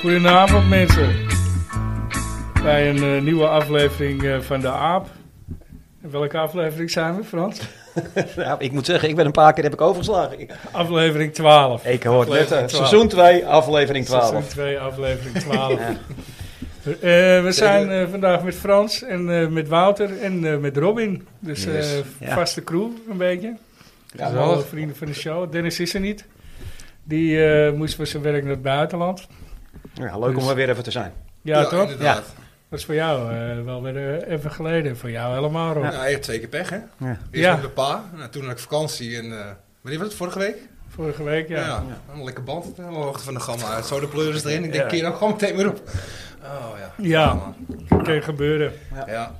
Goedenavond mensen. Bij een eh, nieuwe aflevering eh, van de AAP. En welke aflevering zijn we, Frans? Nou, ik moet zeggen, ik ben een paar keer heb ik overgeslagen. Ik, Aflevering 12. ik hoor het net. Aflevering hè. 12. Seizoen 2, aflevering Seizoen 12. 2, aflevering 12. Eh, we zijn eh, vandaag met Frans en eh, met Wouter en eh, met Robin. Dus eh, Yes. Ja. vaste crew, een beetje. Ja, dus man. alle vrienden van de show. Dennis is er niet. Die eh, moest voor zijn werk naar het buitenland. Ja, leuk om Dus- er weer even te zijn. Ja, toch? Inderdaad. Dat is voor jou eh, wel weer eh, even geleden. Voor jou helemaal, Rob. Ja. hij heeft twee keer pech, hè? Eerst Ja. met mijn pa, nou, toen had ik vakantie en... eh wanneer was het? Vorige week? Vorige week, ja. Een lekker band, op de hoogte van de gamma uit. Zo de pleuris erin. Ik denk, Ja. keer ook gewoon meteen weer op. Oh ja. Ja. man. kan gebeuren. Ja.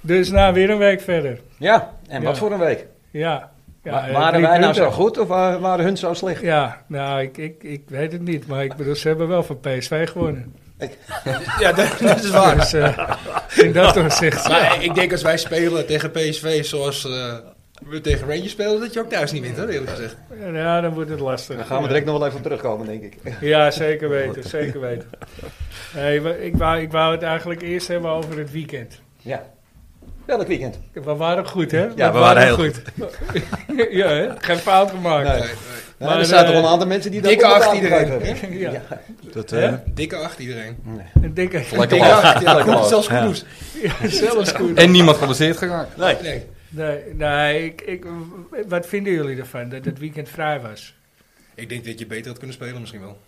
Dus nou, weer een week verder. Ja, en wat Ja. voor een week. Ja. ja Wa- eh, waren drie wij nou zo punten. goed of wa- waren hun zo slecht? Ja, nou, ik, ik, ik weet het niet. Maar ik bedoel, ze hebben wel van PSV gewonnen. Ja, dat, dat is waar. Dus eh in dat opzicht. Maar eh, ik denk als wij spelen tegen PSV zoals eh, we tegen Rangers spelen, dat je ook thuis niet wint, hoor, eerlijk gezegd. Ja, dan wordt het lastig. Daar gaan we direct nog wel even op terugkomen, denk ik. Ja, zeker weten. Zeker weten. Hey, wa- ik, wou, ik wou het eigenlijk eerst hebben over het weekend. Ja. Welk weekend? We waren goed, hè? we waren heel goed. ja, hè? geen fout gemaakt. Nee. Nee, nee. Nou, Maar, er zaten eh, wel een aantal mensen die dat dikke op elkaar acht iedereen. gegeven Ja. hebben. Ja. Dat, Hè? eh, Dikke acht iedereen. Een dikke. Lekker Dikke man. acht, ja. Lekker man. Zelfs Ja. Koeroes. Ja, zelfs goed. en niemand geblesseerd geraakt. Nee. Nee, nee ik, ik, wat vinden jullie ervan dat het weekend vrij was? Ik denk dat je beter had kunnen spelen misschien wel.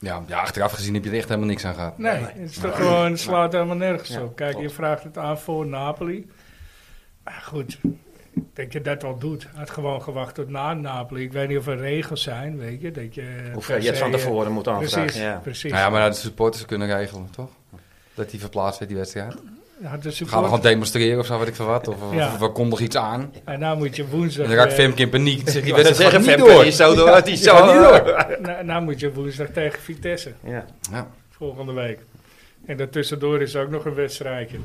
Ja, ja, achteraf gezien heb je er echt helemaal niks aan gehad. Nee, het, is toch gewoon, het slaat helemaal nergens Ja, op. Kijk, je klopt. vraagt het aan voor Napoli. Maar goed, ik denk je dat wel doet. Had gewoon gewacht tot na Napoli. Ik weet niet of er regels zijn, weet je. Dat je Of per je het se, van eh, tevoren moet Precies, aanvragen. Ja. precies. Nou ja, maar dat de supporters kunnen regelen, toch? Dat die verplaatst werd, die wedstrijd. Had de Gaan we support. gewoon demonstreren of zo, weet ik veel wat. Of, of Ja. we kondigen iets aan. En nou moet je woensdag... En dan raakt eh, Femke in paniek. Dan zegt die Ik wil wedstrijd zeggen, gaat niet Femke door. die is zo door. Die is zo Ja. niet door. nou, nou moet je woensdag tegen Vitesse. Ja. Ja. Volgende week. En daartussendoor is ook nog een wedstrijdje.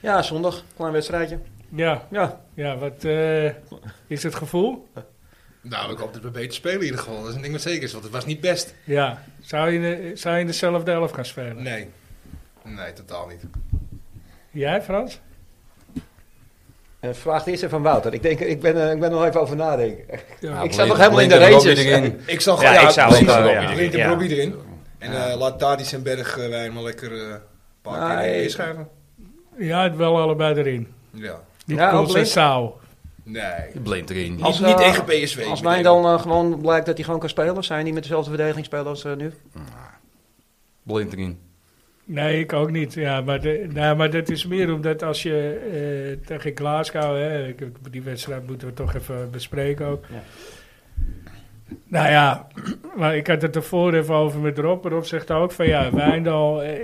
ja, zondag. Klein wedstrijdje. Ja, Ja. ja wat eh, is het gevoel? Nou, ik hoop dat we beter spelen in ieder geval. Dat is een ding wat zeker is, want het was niet best. Ja. Zou je, de- zou je in dezelfde elf gaan spelen? Nee. Nee, totaal niet. Jij, Frans? Eh, Vraag eerst even aan Wouter. Ik, denk, ik, ben, eh, ik ben er nog even over nadenken. Ja. Ik zat nog helemaal in de Linker Robbie races. erin. Ik zag Ja, ik zou precies, ook wel, Robbie ja. erin. Ik heb Ja. Robbie erin. En eh, laat Tadis en Berg eh, wij maar lekker eh, een paar keer eh, Nee. inschrijven. Ja, het wel allebei erin. Ja. Die Ja, Pools en Blind. Sau. Nee. Blind erin. Als, niet eh, tegen Als PSV. meteen. Nijn dan eh, gewoon blijkt dat hij gewoon kan spelen, zijn die met dezelfde verdediging spelen als eh, nu? Blind erin. Nee, ik ook niet. Ja, maar, de, nou, maar dat is meer omdat als je eh, tegen Glasgow... Hè, ik- ik- die wedstrijd moeten we toch even bespreken ook. Ja. Nou ja, maar ik had het ervoor even over met Rob. Rob zegt ook van ja, Wijndal eh,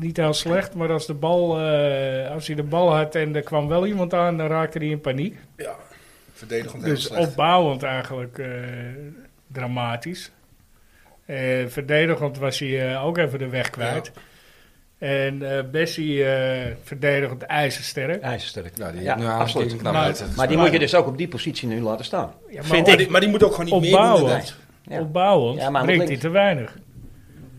niet heel slecht. Maar als, de bal, eh, als hij de bal had en er kwam wel iemand aan, dan raakte hij in paniek. Ja. Verdedigend heel Dus slecht. opbouwend eigenlijk eh, dramatisch. Eh, verdedigend was hij eh, ook even de weg kwijt. En eh Bessie eh, verdedigend ijzersterk. IJzersterk. Ja, Nou, die Ja, heeft nu aan absoluut. een nou, knap Maar- uitzet. Maar die moet je dus ook op die positie nu laten staan. Ja, Vind maar, ik. die, maar die moet ook gewoon niet meer doen. Opbouwen. inderdaad. Ja. Opbouwend Ja, maar brengt links. hij te weinig.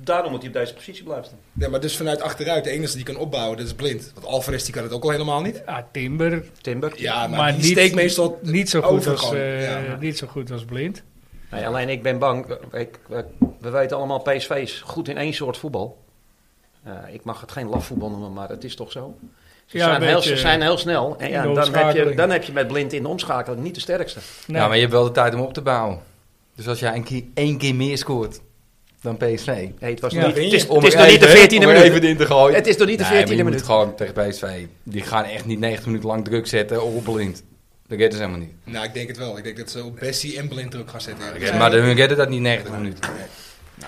Daarom moet hij op deze positie blijven staan. Ja, maar dus vanuit achteruit, de enige die kan opbouwen, dat is blind. Want Alvarez die kan het ook al helemaal niet. Ah, Timber Timber. Ja, maar, Maar die niet- steekt meestal niet zo, goed over als, gewoon. eh, Ja. niet zo goed als blind. Nee, alleen ik ben bang. eh, Ik, eh, we weten allemaal, PSV is goed in één soort voetbal. Eh, ik mag het geen lafvoetbal noemen, maar het is toch zo. Ze, Ja, zijn, een heel, beetje ze zijn heel snel. En ja, in de dan, heb je, omschakeling. dan heb je met blind in de omschakeling niet de sterkste. Nee. Ja, maar je hebt wel de tijd om op te bouwen. Dus als jij een keer, één keer meer scoort dan PSV. Hey, het, was Ja, nog niet, win het je. is, Om het is er nog niet de even- 14e om er minuut. even in te gooien. Het is nog niet de Nee, maar 14e je minuut. moet gewoon tegen PSV. Die gaan echt niet 90 minuten lang druk zetten op blind. Dat redden ze helemaal niet. Nou, ik denk het wel. Ik denk dat ze op Bessie en blind druk gaan zetten. eerlijk Maar hun redden dat niet 90 minuten.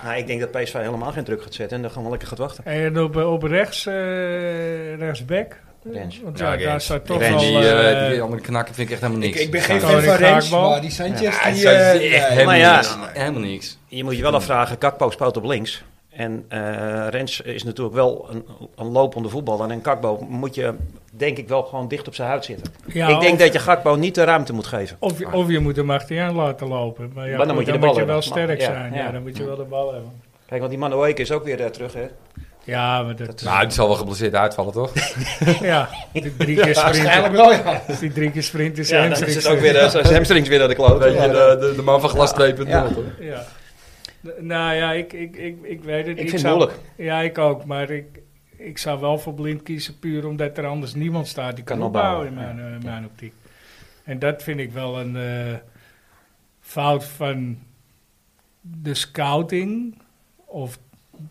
Nou, ik denk dat PSV helemaal geen druk gaat zetten en dan gewoon lekker gaat wachten. En op, op rechts, eh rechtsback. Rens. Want ja, daar Rens. staat toch Rens. wel... die, eh, eh, die andere knakker vind ik echt helemaal gezegd. niks. Ik, ik ben geen Koning fan van Rens, Graakbal. maar die Sanchez, Ja, die... ze- eh, ze- echt nee. helemaal, Maar ja. niks. helemaal niks. Je moet je wel afvragen, Kakpo speelt op links. En eh, Rens is natuurlijk wel een, een lopende voetballer. En Kakpo moet je denk ik wel gewoon dicht op zijn huid zitten. ja, ik denk of- dat je Gakpo niet de ruimte moet geven. Of, je- of je moet hem achteraan laten lopen. Maar, ja, Maar goed, dan moet je de bal wel hebben. sterk Ja, zijn. Ja, ja. dan moet je wel de bal hebben. Kijk, want die Manueke is ook weer eh, terug, hè? Ja, maar dat, Nou, die zal wel geblesseerd uitvallen, toch? ja, die drie keer Waarschijnlijk sprint, wel, ja. die drie keer sprint is Ja, ja, dan is het ook weer, eh, zijn hamstrings weer naar de kloot. Weet je, Ja. de, de, de man van glas 2.0. Ja. hoor. Ja. N- Nou ja, ik, ik, ik, ik weet het. Ik vind zou- het moeilijk. Ja, ik ook. Maar ik, ik zou wel voor blind kiezen puur omdat er anders niemand staat die kan, Kan opbouwen in opbouwen, mijn, eh, mijn optiek. En dat vind ik wel een eh, fout van de scouting. Of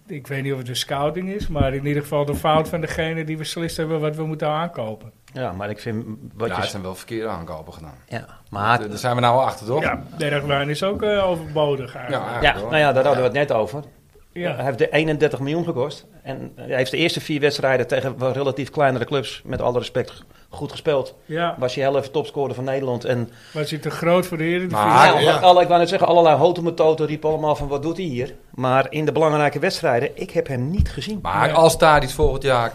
ik weet niet of het de scouting is, maar in ieder geval de fout van degene die beslist hebben wat we moeten aankopen. Ja, maar ik vind wat Ja, je... het zijn wel verkeerde aankopen gedaan. Ja, maar... Daar daar zijn we nou al achter, toch? Ja, Bergwijn is ook eh, overbodig eigenlijk. Ja, hoor. nou ja, daar hadden we het net over. Ja. Hij heeft de 31 miljoen gekost. En hij heeft de eerste vier wedstrijden tegen wel relatief kleinere clubs, met alle respect, g- goed gespeeld. ja, Was hij heel even topscorer van Nederland. En was hij te groot voor de Eredivisie? Maar- ja, ja. Alle, ik wou net zeggen, allerlei hotemetoten riepen allemaal van wat doet hij hier. Maar in de belangrijke wedstrijden, ik heb hem niet gezien. Maar Ja. als Tadic volgend jaar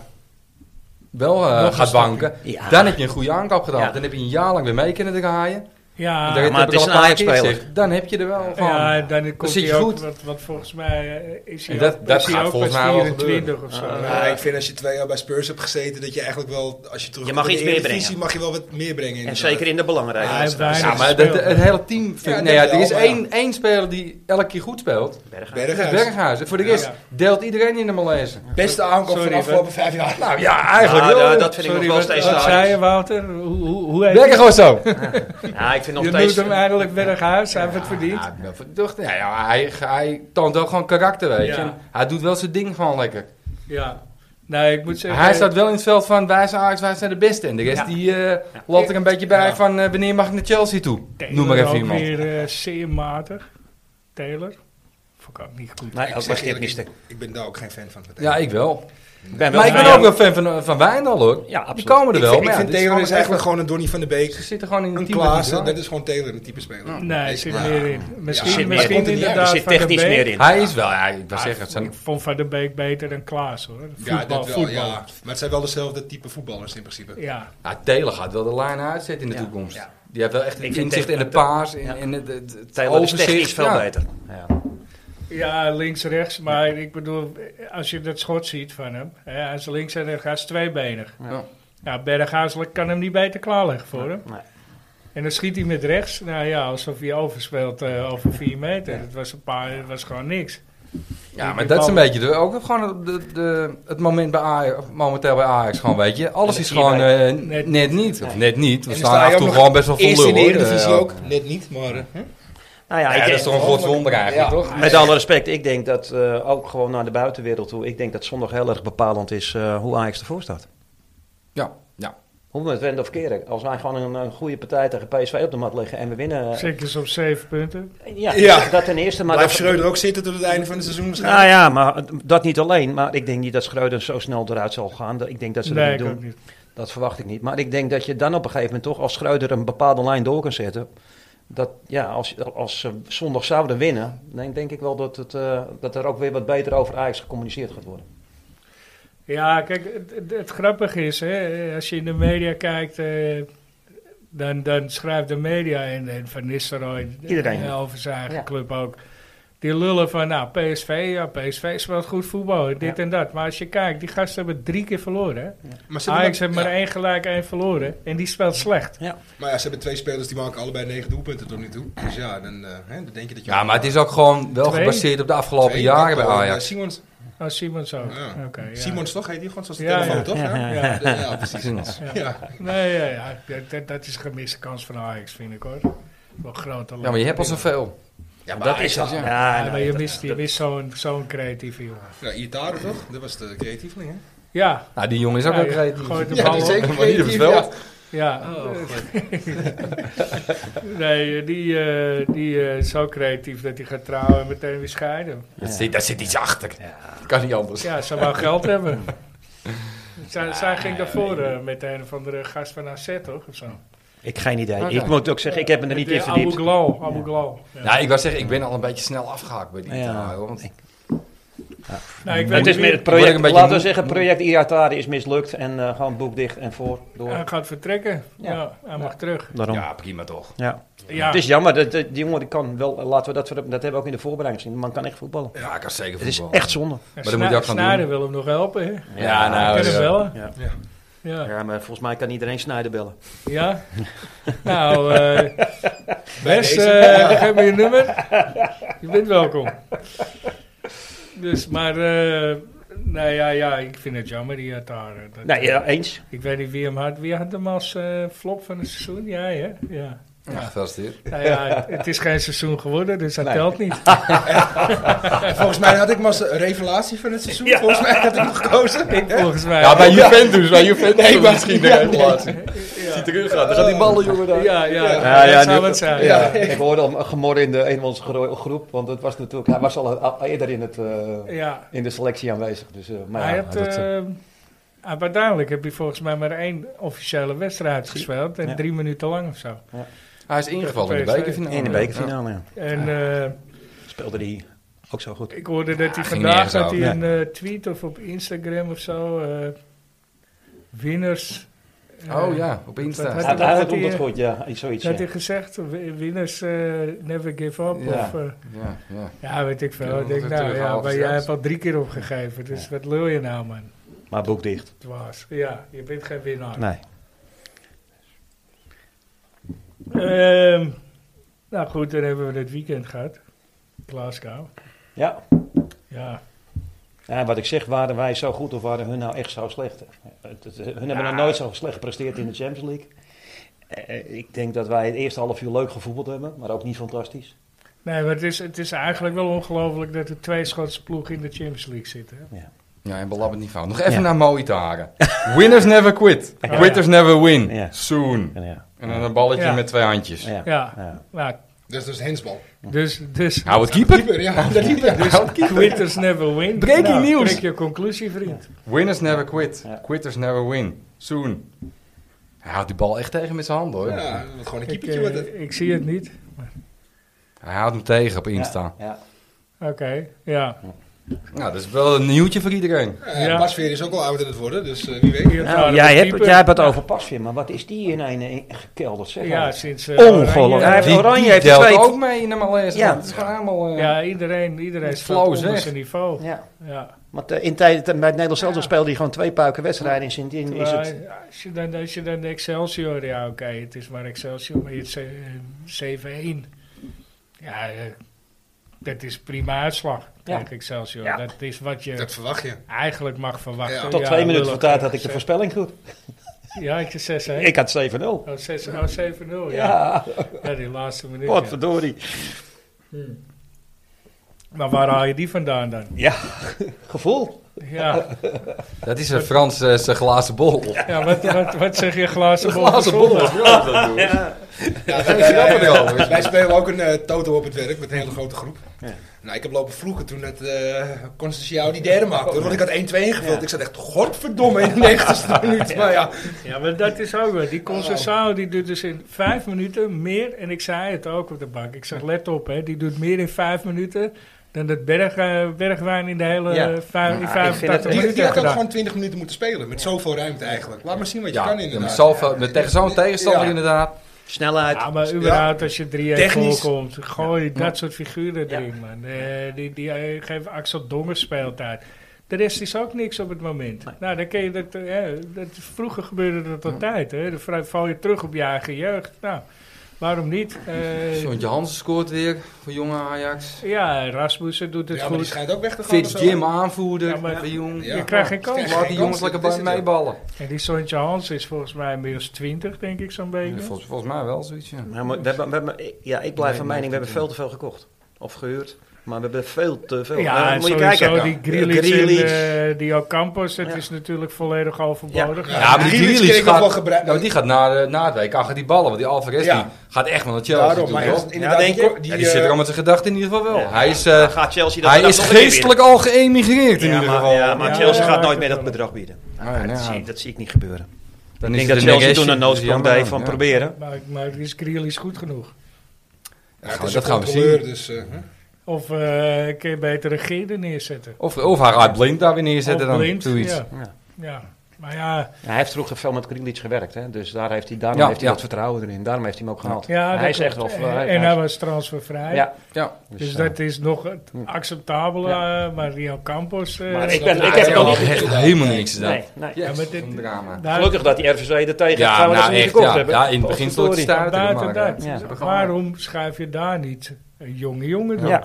wel eh, Nog een gaat stapje. banken, Ja. dan heb je een goede aankoop gedaan. Ja. Want Dan heb je een jaar lang weer mee kunnen draaien. Ja, En dat heb maar ik het al is een paar keer Ajax-speler. gezegd. Dan heb je er wel van. Ja, dan komt zit hij je ook, goed. wat, wat volgens mij eh, is hij En dat- ook, dat is hij gaat ook volgens pas mij wel 24 of zo. Ja, ik vind als je twee jaar bij Spurs hebt gezeten, dat je eigenlijk wel, als je terug Je mag in de iets meer Eredivisie, brengen. mag je wel wat meer brengen. en inderdaad. zeker in de belangrijke Hij heeft wedstrijden. Ja, weinig maar dat, gespeeld. het hele team vind Ja, ik... dat Nee, ja, er wel, is maar één, één speler die elke keer goed speelt. Berghuis. Dat is Berghuis. Berghuizen. Voor de rest Ja. deelt iedereen in de Malaise. Beste aankoop van Sorry, de afgelopen vijf jaar. Nou ja, eigenlijk Ah, wel. da- dat vind ik Sorry, nog wel wat, steeds wat te zei hard. je Wouter? Hoe, hoe, hoe heet Werken hij? gewoon zo. Ja, ik vind nog Je steeds... noemt hem eigenlijk Berghuis, hij heeft het verdiend. Ja, wel verdacht. Ja, ja, hij, hij toont wel gewoon karakter, weet je. Ja. En Hij doet wel zijn ding gewoon lekker. Ja. Nee, ik moet zeggen... Hij staat wel in het veld van wij zijn Ajax, wij zijn de beste. En de rest eh, Ja. die eh, loopt er een beetje bij Ja. van eh, wanneer mag ik naar Chelsea toe? Taylor Noem maar even ook iemand. weer eh, zeer matig. Taylor. Vond ik ook niet goed. Nee, Ik ook zeg was dit eerlijk, miste. ik- Ik ben daar ook geen fan van. meteen. Ja, ik wel. Ik ben wel Maar ik ben fan. ook wel fan van, eh, van Wijndal hoor. Ja, die absoluut. komen er Ik wel. vind, maar ik ja, vind dit is Taylor is gewoon eigenlijk gewoon een Donny van de Beek. Ze zitten gewoon in een Een team. dat niet Klaassen, draait. dat is gewoon Taylor, een type speler. Nee, hij zit Ja. meer in. Misschien, Ja, Er zit, meer misschien in. inderdaad er zit Van de technisch Beek. meer in. Hij is wel, ja, ik wil zeggen. Het Ah, Ik zijn, vond Van der Beek beter dan Klaas hoor. Voetbal, Ja, dat wel, voetbal. ja. Ja. Maar het zijn wel dezelfde type voetballers in principe. ja, Taylor gaat wel de lijn uitzetten in de Ja. toekomst. Ja. Die heeft wel echt vind inzicht in Taylor- de paas, in, Ja. in het, het, het Taylor is overzicht. technisch veel Ja. beter. Ja. Ja, links-rechts. Maar ik bedoel, als je dat schot ziet van hem. Hè, hij is links en hij is tweebenig. Ja. Nou, Berghuis kan hem niet beter klaarleggen voor hem. Nee. En dan schiet hij met rechts. Nou ja, alsof hij overspeelt eh, over vier meter. Het was een paar, het was gewoon niks. Ja, Die- maar die dat is een bal- beetje de, ook gewoon de, de, het moment bij Ajax, momenteel bij Ajax gewoon, weet je. Alles En is dat gewoon zie je eh, net, niet. Of net niet. We En dan staan af en ook toe nog gewoon best wel vol eerst lul, in de hoor. Eredivisie Eh, ook. Net niet, maar... eh, hè? Nou ja, Ja, ik dat denk- is toch een groot wonder eigenlijk, Ja. toch? Met alle respect, ik denk dat eh, ook gewoon naar de buitenwereld toe. Ik denk dat zondag heel erg bepalend is eh, hoe Ajax ervoor staat. Ja, ja. Hoe we het wenden of keren. Als wij gewoon een, een goede partij tegen PSV op de mat leggen en we winnen. eh, Zeker op zeven punten. ja, Ja. dat ten eerste. Maar Blijft dat, Schreuder ook zitten tot het einde van het seizoen waarschijnlijk? nou ja, maar dat niet alleen. Maar ik denk niet dat Schreuder zo snel eruit zal gaan. Dat- Ik denk dat ze nee, dat ik niet ook doen. niet. Dat verwacht ik niet. Maar ik denk dat je dan op een gegeven moment toch, als Schreuder een bepaalde lijn door kan zetten. Dat ja, als, als ze zondag zouden winnen, dan denk ik wel dat, het, eh, dat er ook weer wat beter over Ajax gecommuniceerd gaat worden. Ja, kijk, het, het, het grappige is, hè, als je in de media kijkt, eh, dan, dan schrijft de media en, en Van Nistelrooy Iedereen. eh, over zijn eigen Ja. club ook. Die lullen van, nou, PSV, ja, PSV speelt goed voetbal, dit en dat. Maar als je kijkt, die gasten hebben drie keer verloren. Hè? Maar ze Ajax heeft hebben- maar ja. één gelijk, één verloren. En die speelt slecht. Maar ja, ze hebben twee spelers die maken allebei negen doelpunten tot nu toe. Dus ja, dan, eh, hè, dan denk je dat je... ja, maar het is ook gewoon wel Twee. gebaseerd op de afgelopen Twee jaren bij Bakko en, eh, Ajax. Simons, Oh, Simons ook. Ja. Oké, ja. Simons toch? Heet die gewoon zoals de Ja, telefoon, ja. toch? Ja, Ja. ja. precies. Ja. Ja. Nee, ja, ja. Dat- Dat, dat is een gemiste kans van Ajax, vind ik hoor. Wel grote Ja, maar je hebt al zoveel. Ja, dat is dat. het. Ja, Ja, nee, maar je dat- mist, je mist zo'n zo'n creatieve jongen. Ja, Iataren toch? Dat was de creatieveling, hè? Ja, Nou, die jongen is ook Ja, wel je creatief. gooit de Ja, bal die op. is zeker Maar niet op het creatief, ja. veld. Ja. nee, die, eh, die eh, is zo creatief dat hij gaat trouwen en meteen weer scheiden. Dat zit- Daar zit iets achter. Kan niet anders. Ja, ze wou geld hebben. Zij, zij ging daarvoor eh, met een of andere gast van AZ, toch? Of zo. Ik geen idee. Oké. Ik moet ook zeggen, ik heb me er niet in Met die Abu verdiept. Glau, Abu Glau. Ja. Nou, ik wou zeggen, ik ben al een beetje snel afgehaakt bij die Ja. taal, hoor, want Ik- Nou, ik weet Het is meer niet het Word ik project, een beetje laten we moe? zeggen, project Iatari is mislukt en eh, gewoon boek dicht en voor, door. wie- Hij gaat vertrekken. Ja, Ja. hij mag terug. Daarom. Ja. Ja, prima toch. Ja, Het is jammer, dat, dat- die jongen die kan wel, laten we dat, dat hebben we ook in de voorbereiding gezien, maar kan echt voetballen. Ja, ik kan zeker Het is voetballen. echt zonde. maar dan moet je ook gaan Snijder doen. wil hem nog helpen. Hè? Ja, nou, kan ja. hem bellen. Ja. Ja. Ja. Ja, maar volgens mij kan iedereen snijden bellen. ja. nou, eh Wes, deze. eh, geef me je nummer. Je bent welkom. Dus, maar... eh nou ja, ja, ik vind het jammer, die Atara. Dat- eh, Nee, Nou, ja, eens. Ik weet niet wie hem had. Wie had hem als eh, flop van het seizoen? Jij, hè? Ja. Ja, gefeliciteerd. Nou ja, het is geen seizoen geworden, dus dat Nee. telt niet. Volgens mij had ik maar een revelatie van het seizoen. Volgens mij had ik hem gekozen. Ik volgens mij. Ja, bij Juventus, bij Juventus Nee, maar- misschien de revelatie. ja. Terug gaat, dan gaat die ballen, jongen, daar. Ja, ja, Ja, ja, dat zou nu- het zijn. Ja. Ja. Ik hoorde al een gemor in de, een van onze gro- groep, want het was natuurlijk, hij was al, al eerder in, het, eh, Ja. in de selectie aanwezig. Dus, eh, maar Hij ja, had, dat, eh, eh, ah, maar duidelijk heb je volgens mij maar één officiële wedstrijd gespeeld en Ja. drie minuten lang of zo. Hij is ingevallen in de PSV. bekerfinale. in de bekerfinale ja. En eh, speelde hij ook zo goed. ik hoorde dat hij ging vandaag nergens dat hij over. een eh, tweet of op Instagram of zo. eh, winners. eh, Oh ja, op Wat Insta. had staat hij- het. Uiteindelijk hij, komt dat eh, goed, ja, iets zoiets. Dat Ja. hij gezegd, wi- winners eh, never give up. Ja. Of, eh, Ja, ja. ja, weet ik Ja, veel. Ik dat denk, is nou terug, ja, half maar jij zelfs. hebt al drie keer opgegeven, dus wat lul je nou, man? Maar boek dicht. Dwaas. Ja, je bent geen winnaar. Nee. Ehm, nou goed, dan hebben we het weekend gehad. Glasgow. Ja. Ja, Ja, wat ik zeg, waren wij zo goed of waren hun nou echt zo slecht? Het- het- Hun hebben nog nooit zo slecht gepresteerd in de Champions League. Eh, Ik denk dat wij het eerste half uur leuk gevoetbald hebben, maar ook niet fantastisch. nee, maar het is, het is eigenlijk wel ongelooflijk dat er twee Schotse ploegen in de Champions League zitten. hè? Ja, en belabberd niet van. Nog even Ja. naar Moitaren. Winners never quit. Ja. Quitters never win. Ja. Soon. En ja, En dan een balletje Ja. met twee handjes. ja, Ja. ja. Nou, Dus dat is hensbal. dus, dus Hou het keeper. Keeper, ja. Dat keeper. Dus- quitters never win. Breaking Nou, news. Trek je conclusie, vriend. Winners never quit. Ja. Quitters never win. Soon. Hij houdt die bal echt tegen met zijn hand hoor. Ja, dat is gewoon een Ik, keepertje wordt het. eh, ik zie het niet. Hij houdt hem tegen op Insta. Ja, ja. Oké, ja. Nou, dat is wel een nieuwtje voor iedereen. Eh, Ja. Basveer is ook al ouder aan het worden, dus eh, wie weet. Hier waren Nou, we jij, hebt, keeper. jij hebt het over Pasveer, maar wat is die in een eh, gekelderd? Zeg Ja, maar. sinds... eh, Ongelooflijk. Oranje- Hij heeft- Die, Oranje die heeft telt twee- ook mee in de Malaise. Ja. Het is gewoon helemaal... eh, Ja, iedereen, iedereen staat Flow, onder zeg. zijn niveau. Ja. ja. Want eh, in tijd, bij het Nederlands zelf speelde hij gewoon twee puiken wedstrijden in sint is Maar het als, je dan, als je dan Excelsior, ja oké, het is maar Excelsior, maar je hebt ze- eh, 7-1. Ja, eh, dat is prima uitslag Ja. tegen Excelsior. Ja. Dat is wat je Dat verwacht je. eigenlijk mag verwachten. Ja. Tot twee minuten voor lullig. tijd had ik de voorspelling goed. Ja, ik zei 6-1. Ik had 7-0. Oh, 6, oh, 7-0, ja. Ja, ja. Die laatste minuut. wat ja. verdorie. Maar waar haal je die vandaan dan? Ja, gevoel. Ja, Dat is een Frans eh, zijn glazen bol. ja wat, wat, wat zeg je glazen bol? glazen voor bol. zondag? Ja, dat doe ik. Ja, geen wij- grappen wij- erover. Wij spelen ook een eh, toto op het werk met een hele grote groep. Ja. Nou, ik heb lopen vloeken toen dat eh Constantiao die derde maakte. hoor, Want ik had 1-2 ingevuld. Ik zat echt, godverdomme, in de 90ste minuut. Maar ja, Ja, maar dat is ook wel. Die Concessao die doet dus in vijf minuten meer. En ik zei het ook op de bank. Ik zeg, let op, hè, die doet meer in vijf minuten. dan dat berg, eh, Bergwijn in de hele Ja. eh, Ah, vijf- in Ja, ik vind 85 het- die, minuten die heeft had ook gedaan. gewoon 20 minuten moeten spelen. Met zoveel ruimte eigenlijk. Laat maar zien wat je Ja, kan ja, inderdaad. maar zoveel- met tegen zo'n tegenstander Ja. inderdaad. Snelheid. Ja, maar überhaupt als je 3-1 Technisch. voorkomt, gooi dat soort figuren erin, man. Eh, die die eh, geven Axel Dongen speeltijd. De rest is ook niks op het moment. Nou, dan ken je dat, eh, dat. Vroeger gebeurde dat altijd. Hè. Dan vrij- val je terug op je eigen jeugd. Nou, waarom niet? Eh, Sontje Hansen scoort weer voor jonge Ajax. Ja, Rasmussen doet het Ja, maar die goed. schijnt ook weg te gaan. Fitz Jim aanvoerder. Ja, Ja, maar- jong. Je krijgt geen kans. Laat die jongens lekker bij meeballen. En die Sontje Hans is volgens mij inmiddels 20, denk ik zo'n beetje. Volgens, volgens mij wel zoiets, ja. Ja, maar we hebben, we hebben- ja, ik blijf Nee, van nee, mening, we hebben nee. veel te veel gekocht. Of gehuurd. Maar we hebben veel te veel. ja, Nou, en moet je sowieso kijken. die Ja, Grealish, Grealish. en eh, die Ocampos, dat Ja. is natuurlijk volledig overbodig. Ja, maar die Grealish kreeg ook wel gebruik- nou, die gaat na, de- na het WK gaat die ballen. Want die Alvarez Ja. die gaat echt wel naar Chelsea Daarom, toe, maar toch? hij is inderdaad... Ja, denk die- eh, je? Ja, die zit er al met zijn gedachten in ieder geval wel. Ja. hij is, eh, Dan gaat Chelsea dat hij dat is nog een keer geestelijk al geëmigreerd in winnen. Ja, ieder maar, geval. ja, maar Ja, Chelsea ja, gaat nooit ik meer dat weet bedrag bieden. Nee, Ah, nee, dat, zie, dan dat zie ik niet gebeuren. is Ik denk het dat een Chelsea negation. toen een Dat is noodsprong jammer, deed van ja. proberen. Maar, maar is Grealish goed genoeg? Ja, het Ja, is dat een gaan we controleur, zien. dus... eh, hè. Of eh, kun je beter een Geerde neerzetten. Of, of haar blind daar weer neerzetten Of dan. Blind, zoiets. Ja, ja. Maar ja, Hij heeft vroeger veel met Grealish gewerkt, hè? dus daar heeft hij, daarom Ja, heeft hij ja. dat vertrouwen erin. Daarom heeft hij hem ook gehaald. ja hij dat is echt wel... klopt. hij- En, hij en is- hij was transfervrij. ja, Ja. dus, Dus eh, dat is nog het acceptabele, eh, maar Rio Campos... eh, Maar Dus ik dat ben- doet ik hij heb Ja, ook wel niet echt echt toe. helemaal niks gedaan. nee, nee. Ja, maar dit- een drama. daar- Gelukkig dat die RVC er tegen gaat Ja, gaan, want nou dat ze niet echt, gekocht ja, hebben. ja, in het begin stond het Potverdorie. stuiten. Buiten maar, dat. eh, ja. Dus Waarom schuif je daar niet een jonge jongen door? Ja.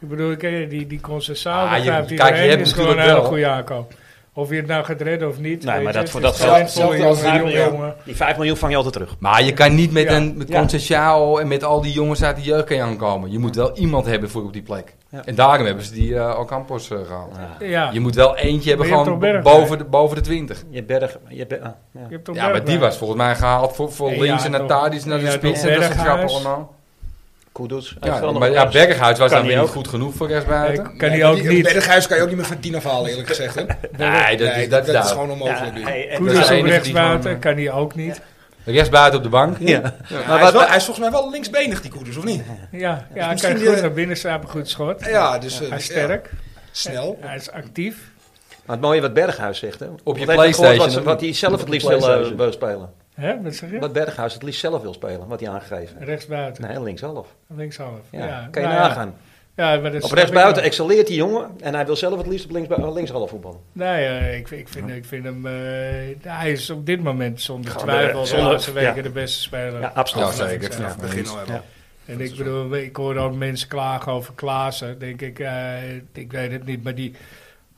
Ik bedoel, ik, eh, die, die Concessaal, Ah, daar je- grijpt kijk, iedereen, je hebt is gewoon een natuurlijk hele wel- goede aankoop. Of je het nou gaat redden of niet. Nee, weet maar je, dat- het voor is dat een geld- talentvolle zelfs als jonge vijf miljoen. jongen. Die 5 miljoen vang je altijd terug. Maar je kan niet met Ja. een met Ja. Conceição en met al die jongens uit de jeugd kan je aankomen. Je moet wel iemand hebben voor op die plek. Ja. En daarom hebben ze die eh Alcampos eh, gehaald. Ja, Je moet wel eentje hebben Maar je gewoon hebt toch Bergwijn? boven de, boven de 20. Je berg... Je berg ah, ja. je hebt toch Ja, maar die Bergwijn. was volgens mij gehaald voor, voor Ja, links ja, en naar toch. Tadis naar de Ja, spits. toch. En dat soort grap Berghuis. allemaal. Kudus. Hij heeft Ja, wel maar nog- ja, Berghuis was Kan dan weer hij niet ook. goed genoeg voor rechtsbuiten. Nee, kan Nee, hij ook die- niet. Berghuis kan je ook niet meer van tien afhalen, eerlijk gezegd. Hè? Nee, dat Nee, is, dat is nou- dat is duidelijk. gewoon Ja, onmogelijk. nu. hij- en- Dat is Koeders de op enige die rechtsbuiten, gewoon, kan die ook niet. Rechtsbuiten op de bank. Ja. Ja, Maar hij, is wat- wel- hij is volgens mij wel linksbenig, die koeders, of niet? Ja, ja, hij misschien kan die- goed naar binnen slapen, goed schot. Ja, dus... eh, Hij is ja, sterk, snel. hij is actief. Maar het mooie wat Berghuis zegt, hè? Want je hij heeft gehoord PlayStation, Wat, ze- hè? wat hij zelf het Op liefst je wil, eh, PlayStation. wil spelen. Hè, wat zeg je? Wat Berghuis het liefst zelf wil spelen, wat hij aangegeven heeft. Rechtsbuiten, Nee, linkshalf. linkshalf. Ja. Ja, kan je nou ja. nagaan. Ja, maar dat Op snap ik rechtsbuiten wel. excelleert die jongen en hij wil zelf het liefst op links, eh, linkshalf voetballen. Nee, eh, ik, ik, vind, ik vind hem... eh, hij is op dit moment zonder Gewoon twijfel de- de zonder- laatste weken ja. de beste speler. Ja, Ja, absoluut. zeker. Ik vind Vanaf het het begin al hebben. En ik bedoel, ik hoor ook mensen klagen over Klaassen. Denk ik, eh, ik weet het niet. Maar die,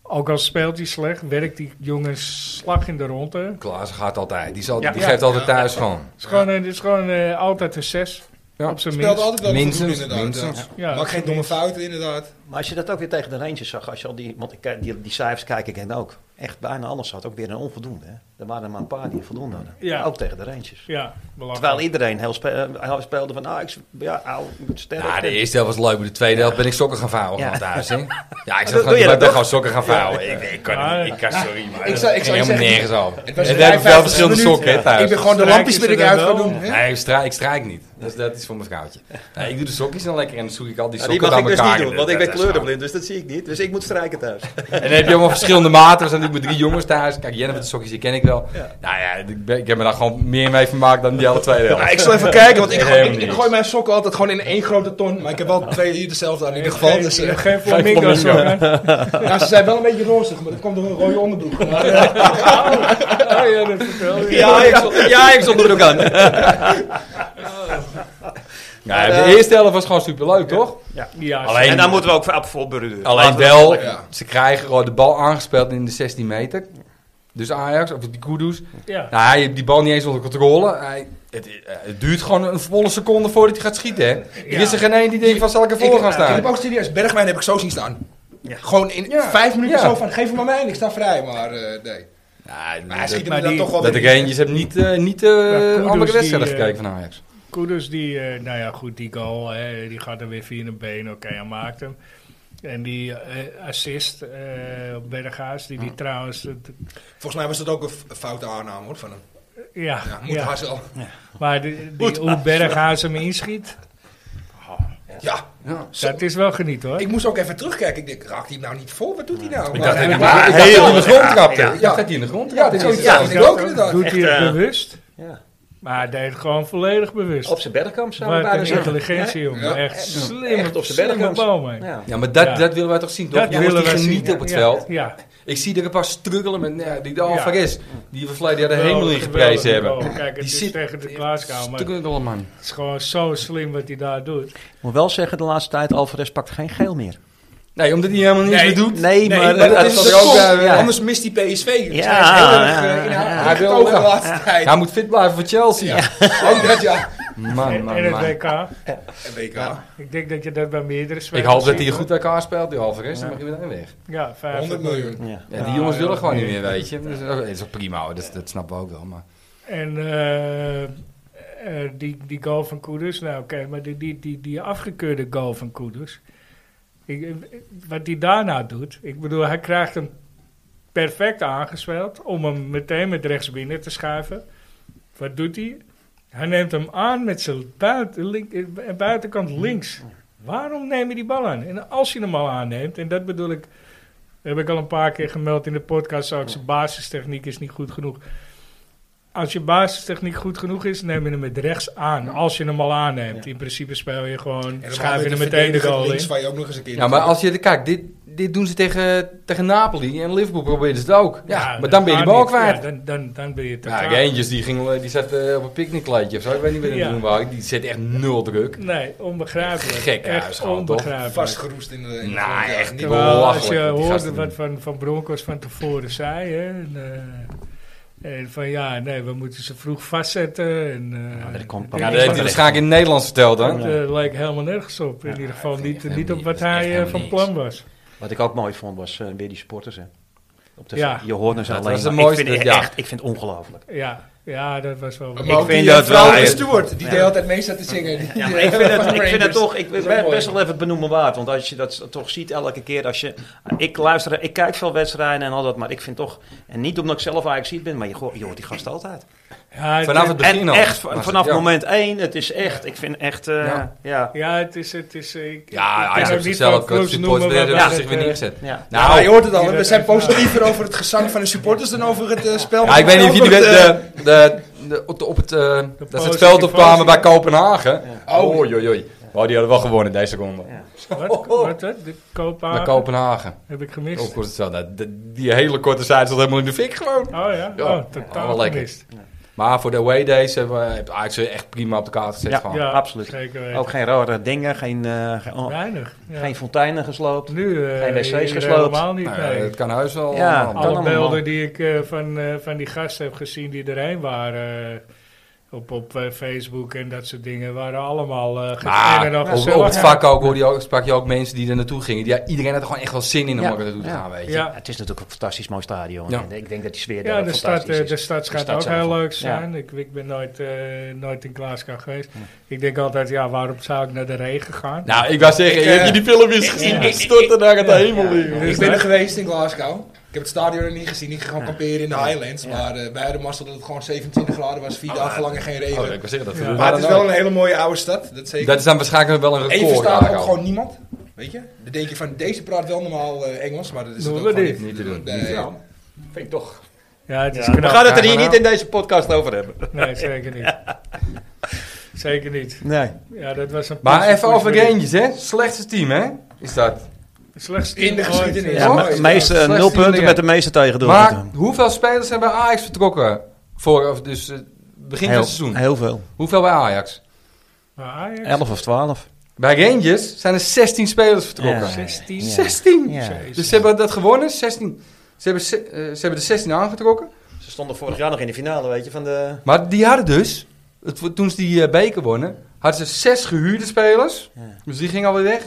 ook al speelt hij slecht, werkt die jongen slag in de ronde. Klaas gaat altijd. Die, zal, Ja. die Ja. geeft altijd thuis gewoon. Het is gewoon, een- het is gewoon eh, altijd een 6. Ja. Op zijn Speelt minst. altijd wel Minstens, goed, inderdaad. minstens. ja. Ja, Maak geen domme fouten, inderdaad. Maar als je dat ook weer tegen de Rangers zag, als je al die, want ik, kijk- die, die cijfers kijk ik hen ook. Echt bijna alles had ook weer een onvoldoende. Hè? Er waren er maar een paar die een voldoende hadden. Ja. Ook tegen de Rangers. Ja, belangrijk. Terwijl iedereen heel, spe- eh, heel speelde van, nou, ik, ja, au, ik moet sterk. Nou, de eerste helft was leuk, maar de tweede helft ben ik sokken gaan vouwen Ja. gewoon thuis. Hè? Ja, ik doe zat gewoon je ik dat ben toch? gewoon sokken gaan vouwen. Ik, ik kan Ja. niet, ik kan sorry, maar Ik zou- ik zou ging helemaal zeggen, nergens over. het was En we hebben wel 55 verschillende minuten. sokken hè, thuis. Ik ben gewoon de Strijk lampjes is ben er ik dan uit wel. gaan doen. hè? Nee, ik strijk, ik strijk niet. Dus dat is voor mijn vrouwtje. Nee, ik doe de sokjes dan lekker en dan zoek ik al die die sokken mag bij ik dus elkaar. niet doen, En want ik dat- ben dat is kleurenblind, dus dat zie ik niet. Dus ik moet strijken thuis. gewoon- En dan heb je allemaal verschillende maten. Dus dan doe ik met drie jongens thuis. Kijk, Jennifer de sokjes, die ken ik wel. Ja. Nou ja, ik, ben- ik heb me daar gewoon meer mee vermaakt dan die alle tweede helft. Nou, ik zal even kijken, want ik, Nee, gooi- ik, helemaal ik niet. gooi mijn sokken altijd gewoon in één grote ton. Maar ik heb wel twee hier dezelfde aan in ieder geval. Geen, Dus, eh, geen flamingo's. flamingo. hoor, hè? ja, ze zijn wel een beetje rozig, maar dat komt door een rode onderbroek. Maar, eh, Oh ja, dat vertel je. Ja, ik stond, ja, ik stond er ook aan. Nou, eh, de eerste helft was gewoon superleuk, toch? Ja, Alleen- En daar moeten we ook voor op voorbereiden. Alleen Laten we- wel, Ja. ze krijgen gewoon de bal aangespeeld in de 16 meter. Dus Ajax, of die Kudus. ja. Nou, hij heeft die bal niet eens onder controle. Hij, het, eh, het duurt gewoon een volle seconde voordat hij gaat schieten, hè? Er is er geen één die denkt van, zal ik ervoor ik, gaan ik staan? heb ook serieus, Bergwijn heb ik zo zien staan. Gewoon in Ja. vijf minuten Ja. zo van, geef hem aan mij en ik sta vrij. Maar eh, nee. Nou, Maar hij dat, schiet hem maar dan die- toch wel dat weer ik in. eentjes heb niet, eh niet eh, Kudus andere die, wedstrijden eh, gekeken van Ajax. Koeders die, eh, nou ja, goed, die goal, hè, die gaat er weer via een been. Oké, hij maakt hem. En die eh, assist eh, op Berghuis, die die trouwens, dat- Volgens mij was dat ook een f- foute aanname hoor, van hem. ja, Ja, moet ja. haar zo. maar die, die, hoe Berghuis hem inschiet, Ja, Ja. dat is wel geniet hoor. ik moest ook even terugkijken. Ik denk, raakt hij hem nou niet vol? Wat doet hij nou? Ik Maar- dacht dat hij- maar- ik dacht dat hij in de grond trapte. Ik dacht dat hij in de grond Ja, trapte. dit is Ja. ja, ook inderdaad. Doet hij Echt, het eh, bewust? Ja. Maar hij deed het gewoon volledig bewust. Op zijn bergkamp zou ik Wat bijna een zeggen. intelligentie, jongen. Ja. Echt slim. Echt op op zijn zijn berg, bomen. Ja. Ja, maar dat, Ja. dat willen wij toch zien, toch? Dat Jongens willen die we genieten zien. op het Ja, veld. Ja, Ik zie er een paar struggelen met nou ja, die de Ja. Alvarez. Die we verleden jaar de hemel in Geweldig, geprezen hebben. geweldig. Kijk, het Die is zit- tegen de Klaaskamer. Struggelen, man. Het is gewoon zo slim wat hij daar doet. Ik moet wel zeggen, de laatste tijd, Alvarez pakt geen geel meer. Nee, omdat hij helemaal niks Nee. meer doet. Nee, Nee, maar, maar Dus dat dat is eh, zal de er ook eh, kop, bij- ja. Anders mist die PSV. Dus Ja, hij is heel erg, ja, eh, in ja, haar ja. Hij wil getogen de wel. laatste tijd. Hij moet fit blijven voor Chelsea. Ook dat, ja. Man, En, en man, het man. WK. En WK. Ik denk dat je dat bij meerdere spelers Ik hoop dat hij ziet, goed bij elkaar speelt, die Alvarez. Dan mag hij meteen weg. hoor. Ja, 100 50 miljoen. miljoen. Ja. Ja, die Ja, jongens ja, willen gewoon ja. niet meer, weet je. Dus, dat is ook prima, hoor. dat, dat snappen we ook wel. Maar. En eh, eh, die, die goal van Koeders, nou oké, maar die, die, die, die afgekeurde goal van Koeders, ik, eh, wat hij daarna doet, ik bedoel, hij krijgt hem perfect aangespeeld om hem meteen met rechts binnen te schuiven. Wat doet hij? Hij neemt hem aan met zijn buiten, link- eh, buitenkant links. Waarom neem je die bal aan? En als je hem al aanneemt, en dat bedoel ik, heb ik al een paar keer gemeld in de podcast, ook zijn basistechniek is niet goed genoeg. Als je basistechniek goed genoeg is, neem je hem met rechts aan. Als je hem al aanneemt. In principe speel je gewoon, En dan schuif je met hem meteen de verdediger goal in. links waar je ook nog eens een keer... Ja, maar als je... Kijk, dit, dit doen ze tegen, tegen Napoli en Liverpool proberen ze het ook. Ja, maar dat dan ben je de Nou, gaat bal niet. kwijt. Ja, dan, dan, dan ben je te Ja, ik kwaad. eentjes die, ging, die zat eh, op een picknickleidje of zo. Ik weet niet wat hij Ja. doen wou. Die zet echt nul druk. Nee, onbegrijpelijk. Gek huis Echt gewoon, toch? onbegrijpelijk. vastgeroest in de... in de Nou, grond, ja, echt niet niet. waar. Terwijl als je Belachelijk, die hoorde gasten. wat van, van Broncos van tevoren zei, hè, en, eh, en van ja, nee, we moeten ze vroeg vastzetten. En, eh, Ja, dat komt- ik Ja, denk dat heeft hij waarschijnlijk in het Nederlands verteld, hè? dat eh, leek helemaal nergens op. In ieder geval niet, echt niet op helemaal wat niet. Dat is echt hij eh, helemaal van niks. plan was. Wat ik ook mooi vond was eh, weer die sporters. Hè. Op de Ja. je hoort hem ze Dat alleen. was de maar ik mooiste, vind het ja. echt, ik vind het ongelooflijk. Ja, ja, dat was wel... Maar Ik ook vind die, eh, dat wel vrouwelijke echt- steward, die Ja. deed altijd mee zat te zingen. Die- Ja, die- maar ik vind het, van ik vind het Rangers. toch ik, Dat is ben mooi. best wel even benoemen waard. Want als je dat s- toch ziet elke keer als je... Ik luister, ik kijk veel wedstrijden en al dat. Maar ik vind toch... En niet omdat ik zelf eigenlijk ziet ben, maar je, hoort- je hoort die gast altijd. Ja, het- Vanaf het begin En al. echt, was het, vanaf ja. moment één, het is echt... Ik vind echt... eh, Ja. ja. ja, het is... Het is eh, ik, Ja, ik kan hij is ook niet op zichzelf. van clubs De supporters noemen, werden maar zich weer dat, eh, neergezet. Ja. Ja, je Nou, hoort het al, hè. we zijn positiever over het gezang van de supporters dan over het eh, spel. ja, ik weet niet of jullie Over weten, het, eh, de, de, de- op, de- op het, eh, dat ze pauze, het veld die pauze. opkwamen bij Kopenhagen. Ja. Oh, joi, joi. Oh, die hadden wel gewonnen deze seconde. Ja. Wat, wat, dat? de Bij Kopenhagen? Kopenhagen. Heb ik Oh, gemist. goed, zo, nou, de- die hele korte zijde zat helemaal in de fik gewoon. Oh ja, Ja. oh, totaal Oh, lekker. gemist. Maar voor de away days hebben we- heeft Ajax ze echt prima op de kaart gezet. Ja. gewoon. Ja, absoluut. Zeker weten. Ook geen rare dingen, geen, eh, geen, oh, Weinig. ja. geen fonteinen gesloopt. Nu eh, Geen wc's hier gesloopt. helemaal niet. Nou, ja, nee. dat kan heus wel. Ja, allemaal. kan Alle allemaal. beelden die ik eh, van, eh, van die gasten heb gezien die erheen waren eh, op, op eh, Facebook en dat soort dingen waren allemaal Nou, eh Maar gezellig. en al op, gezellig. op het vak ook, hoorde je ook, sprak je ook mensen die er naartoe gingen. Die, ja, iedereen had er gewoon echt wel zin in om Ja. ook er naartoe te Ja. gaan, weet je. Ja. Ja, het is natuurlijk een fantastisch mooi stadion. Ja. En ik denk dat die sfeer daar Ja, ook de stad, fantastisch eh, is. de stad schijnt stad ook zelf heel ook. leuk te Ja. zijn. Ik, ik ben nooit, eh, nooit in Glasgow geweest. Ik denk altijd, ja, waarom zou ik naar de regen gaan? Nou, ik wou zeggen, Ik, heb eh, je die filmpjes gezien? ik- Die storten naar het hemel in. joh. Dus Ik ben er dat- geweest in Glasgow. Ik heb het stadion er niet gezien. Ik ging gewoon Ja. kamperen in de Highlands. Ja. Maar eh, wij hadden mazzel dat het gewoon 27 graden was. Vier dagen lang en geen regen. Oh, ik wou zeggen, dat Ja. gebeurt maar daar het is dan wel een hele mooie oude stad. Dat ook. zeker. Dat is dan waarschijnlijk wel een Even record. staat ook daar gewoon niemand. Weet je? Dan denk je van deze praat wel normaal eh, Engels. Maar dat is het Doen ook we gewoon dit? niet. Niet te doen. Nee. Niet te doen. Vind ik toch. Ja, het is Ja, we knap. gaan het er hier Ja, niet maar- in deze podcast over hebben. Nee, zeker niet. zeker niet. Nee. Ja, dat was een Maar push- even push- over Rangers, hè. Slechtste team, hè. Is dat. Slechtste In de ooit. eh, geschiedenis. Ja, Oh, maar ja. meeste, eh, nul Slechtste punten dingen. met de meeste tegendoor. Maar hoeveel spelers zijn bij Ajax vertrokken? Voor, of dus eh, begin van heel, het seizoen. heel veel. Hoeveel bij Ajax? Maar Ajax, 11 of 12. Bij Rangers zijn er 16 spelers vertrokken. Ja. 16. Ja. 16! Ja. Jezus. Dus ze hebben dat gewonnen, 16. Ze hebben, ze, eh, ze hebben de 16 aangetrokken. Ze stonden vorig jaar nog in de finale, weet je, van de... Maar die hadden dus, het, toen ze die eh, beker wonnen, hadden ze zes gehuurde spelers. Ja. Dus die gingen alweer weg.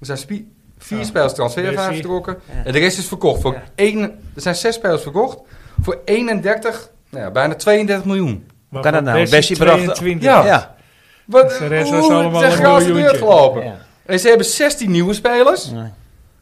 Er zijn spie- vier Ja. spelers transfervrij Oh, Messi. vertrokken. Ja. En de rest is verkocht. Voor Ja. één, er zijn zes spelers verkocht voor 31, nou ja, bijna 32 miljoen. Maar kan dat van nou? Bessie bracht- 22. Ja. Ja. Wat, Dus de rest was hoe- allemaal zeg, een gaan ze miljoentje. deur gelopen. Ja. En ze hebben 16 nieuwe spelers, Nee.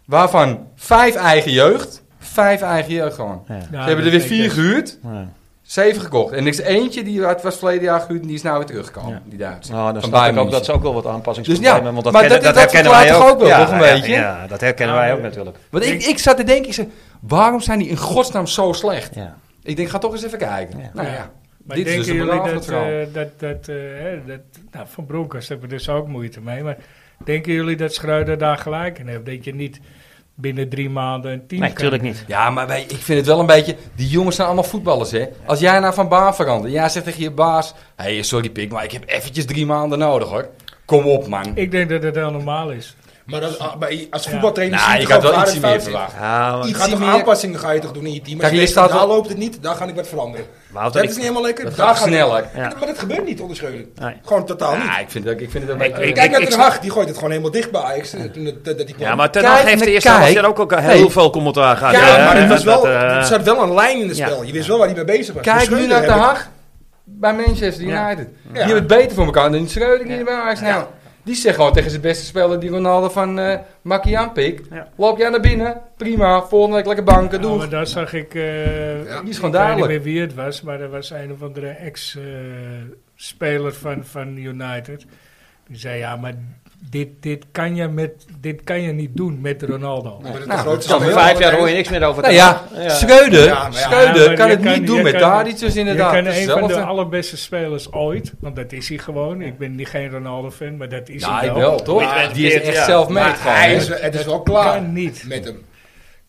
waarvan vijf eigen jeugd. Vijf eigen jeugd gewoon. Ja. Ja, ze hebben er dat weer denk vier ik. gehuurd, Ja. zeven gekocht. En er is eentje die uit was verleden jaar gehuurd en die is nou weer teruggekomen, Ja. die Duitse. Nou, Van dan snap ik Bayern ook dat ze ook wel wat aanpassingen Dus ja, want dat, maar kennen, dat- dat, dat herkennen verklaart wij ook. toch ook wel, ja, toch een ja, beetje? Ja, dat herkennen wij ook natuurlijk. Want ik, ik zat te denken, ik zeg, waarom zijn die in godsnaam zo slecht? Ja. Ik denk, ga toch eens even kijken. Ja. Nou Ja. ja, Maar dit is denken dus een jullie belangrijk dat, verhaal. eh, dat, dat, eh, hè, dat nou, Van Bronckhorst hebben dus ook moeite mee. Maar denken jullie dat Schreuder daar gelijk in heeft? Dat je niet binnen drie maanden een team Nee, kan- natuurlijk niet. Ja, maar wij, ik vind het wel een beetje... Die jongens zijn allemaal voetballers, hè. Als jij nou van baan verandert... en Jij zegt tegen je baas... Hé, hey, sorry pik, maar ik heb eventjes drie maanden nodig, hoor. Kom op, man. Ik denk dat het heel normaal is. Maar dat- ah, bij- als Ja. voetbaltrainer zie nou, je toch gaat ook wel waar iets het meer fout zit. verwachten. Ja, Je maar, gaat toch meer- aanpassingen ga je toch doen in je team. Als Kijk, je hier denkt, van, staat daar wel- loopt het niet, daar ga ik wat veranderen. Wouter, Dat ik, is niet helemaal lekker. Dat daar gaat ga ik- sneller. Ja. Maar dat gebeurt niet onder Schreuder. Nee. Gewoon totaal niet. Ja, ik vind dat, ik vind het een Ik- beetje... ik- Kijk naar Ten snap- Hag, die gooit het gewoon helemaal dicht bij Ajax. eh, Toen dat, dat, dat die kwam. ja, maar ten Kijk, Hag heeft de maar eerste helft kijk. er ook, ook heel Hey. veel commentaar gehad. Ja, hè, maar het hè, was wel, dat, eh, er zat wel een lijn in het ja. spel. Je wist wel waar hij mee bezig was. Kijk Maar nu naar Schreuder De heb ik- Haag bij Manchester United. Die Ja. hebben het beter voor elkaar dan die Schreuder die Ja. er bij Ajax. Nou, die zegt gewoon tegen zijn beste speler, die Ronaldo van eh Makian Pik. Ja. Loop jij naar binnen, prima. Volgende week lekker banken, Nou, doe. maar daar zag ik... eh Ja. Die Ik is gewoon weet niet duidelijk. meer wie het was, maar er was een of andere ex-speler van, van United. Die zei, ja, maar dit, dit, kan, je met, dit kan je niet doen met Ronaldo. Maar de Nou, grootste Over dat kan speler- vijf jaar hoor je niks meer over. Nou te- ja, Schreuder, Ja, maar ja. Schreuder Ja, maar kan je het kan- niet doen je met kan- Dadis dus inderdaad. Je kan een van de Hetzelfde. allerbeste spelers ooit, want dat is hij gewoon. Ik ben niet geen Ronaldo-fan, maar dat is Ja, hij hij wel. wel, toch? Niet met die is dit, echt ja. zelf mee Maar gewoon. hij hè? is, het is wel klaar Kan niet. met hem.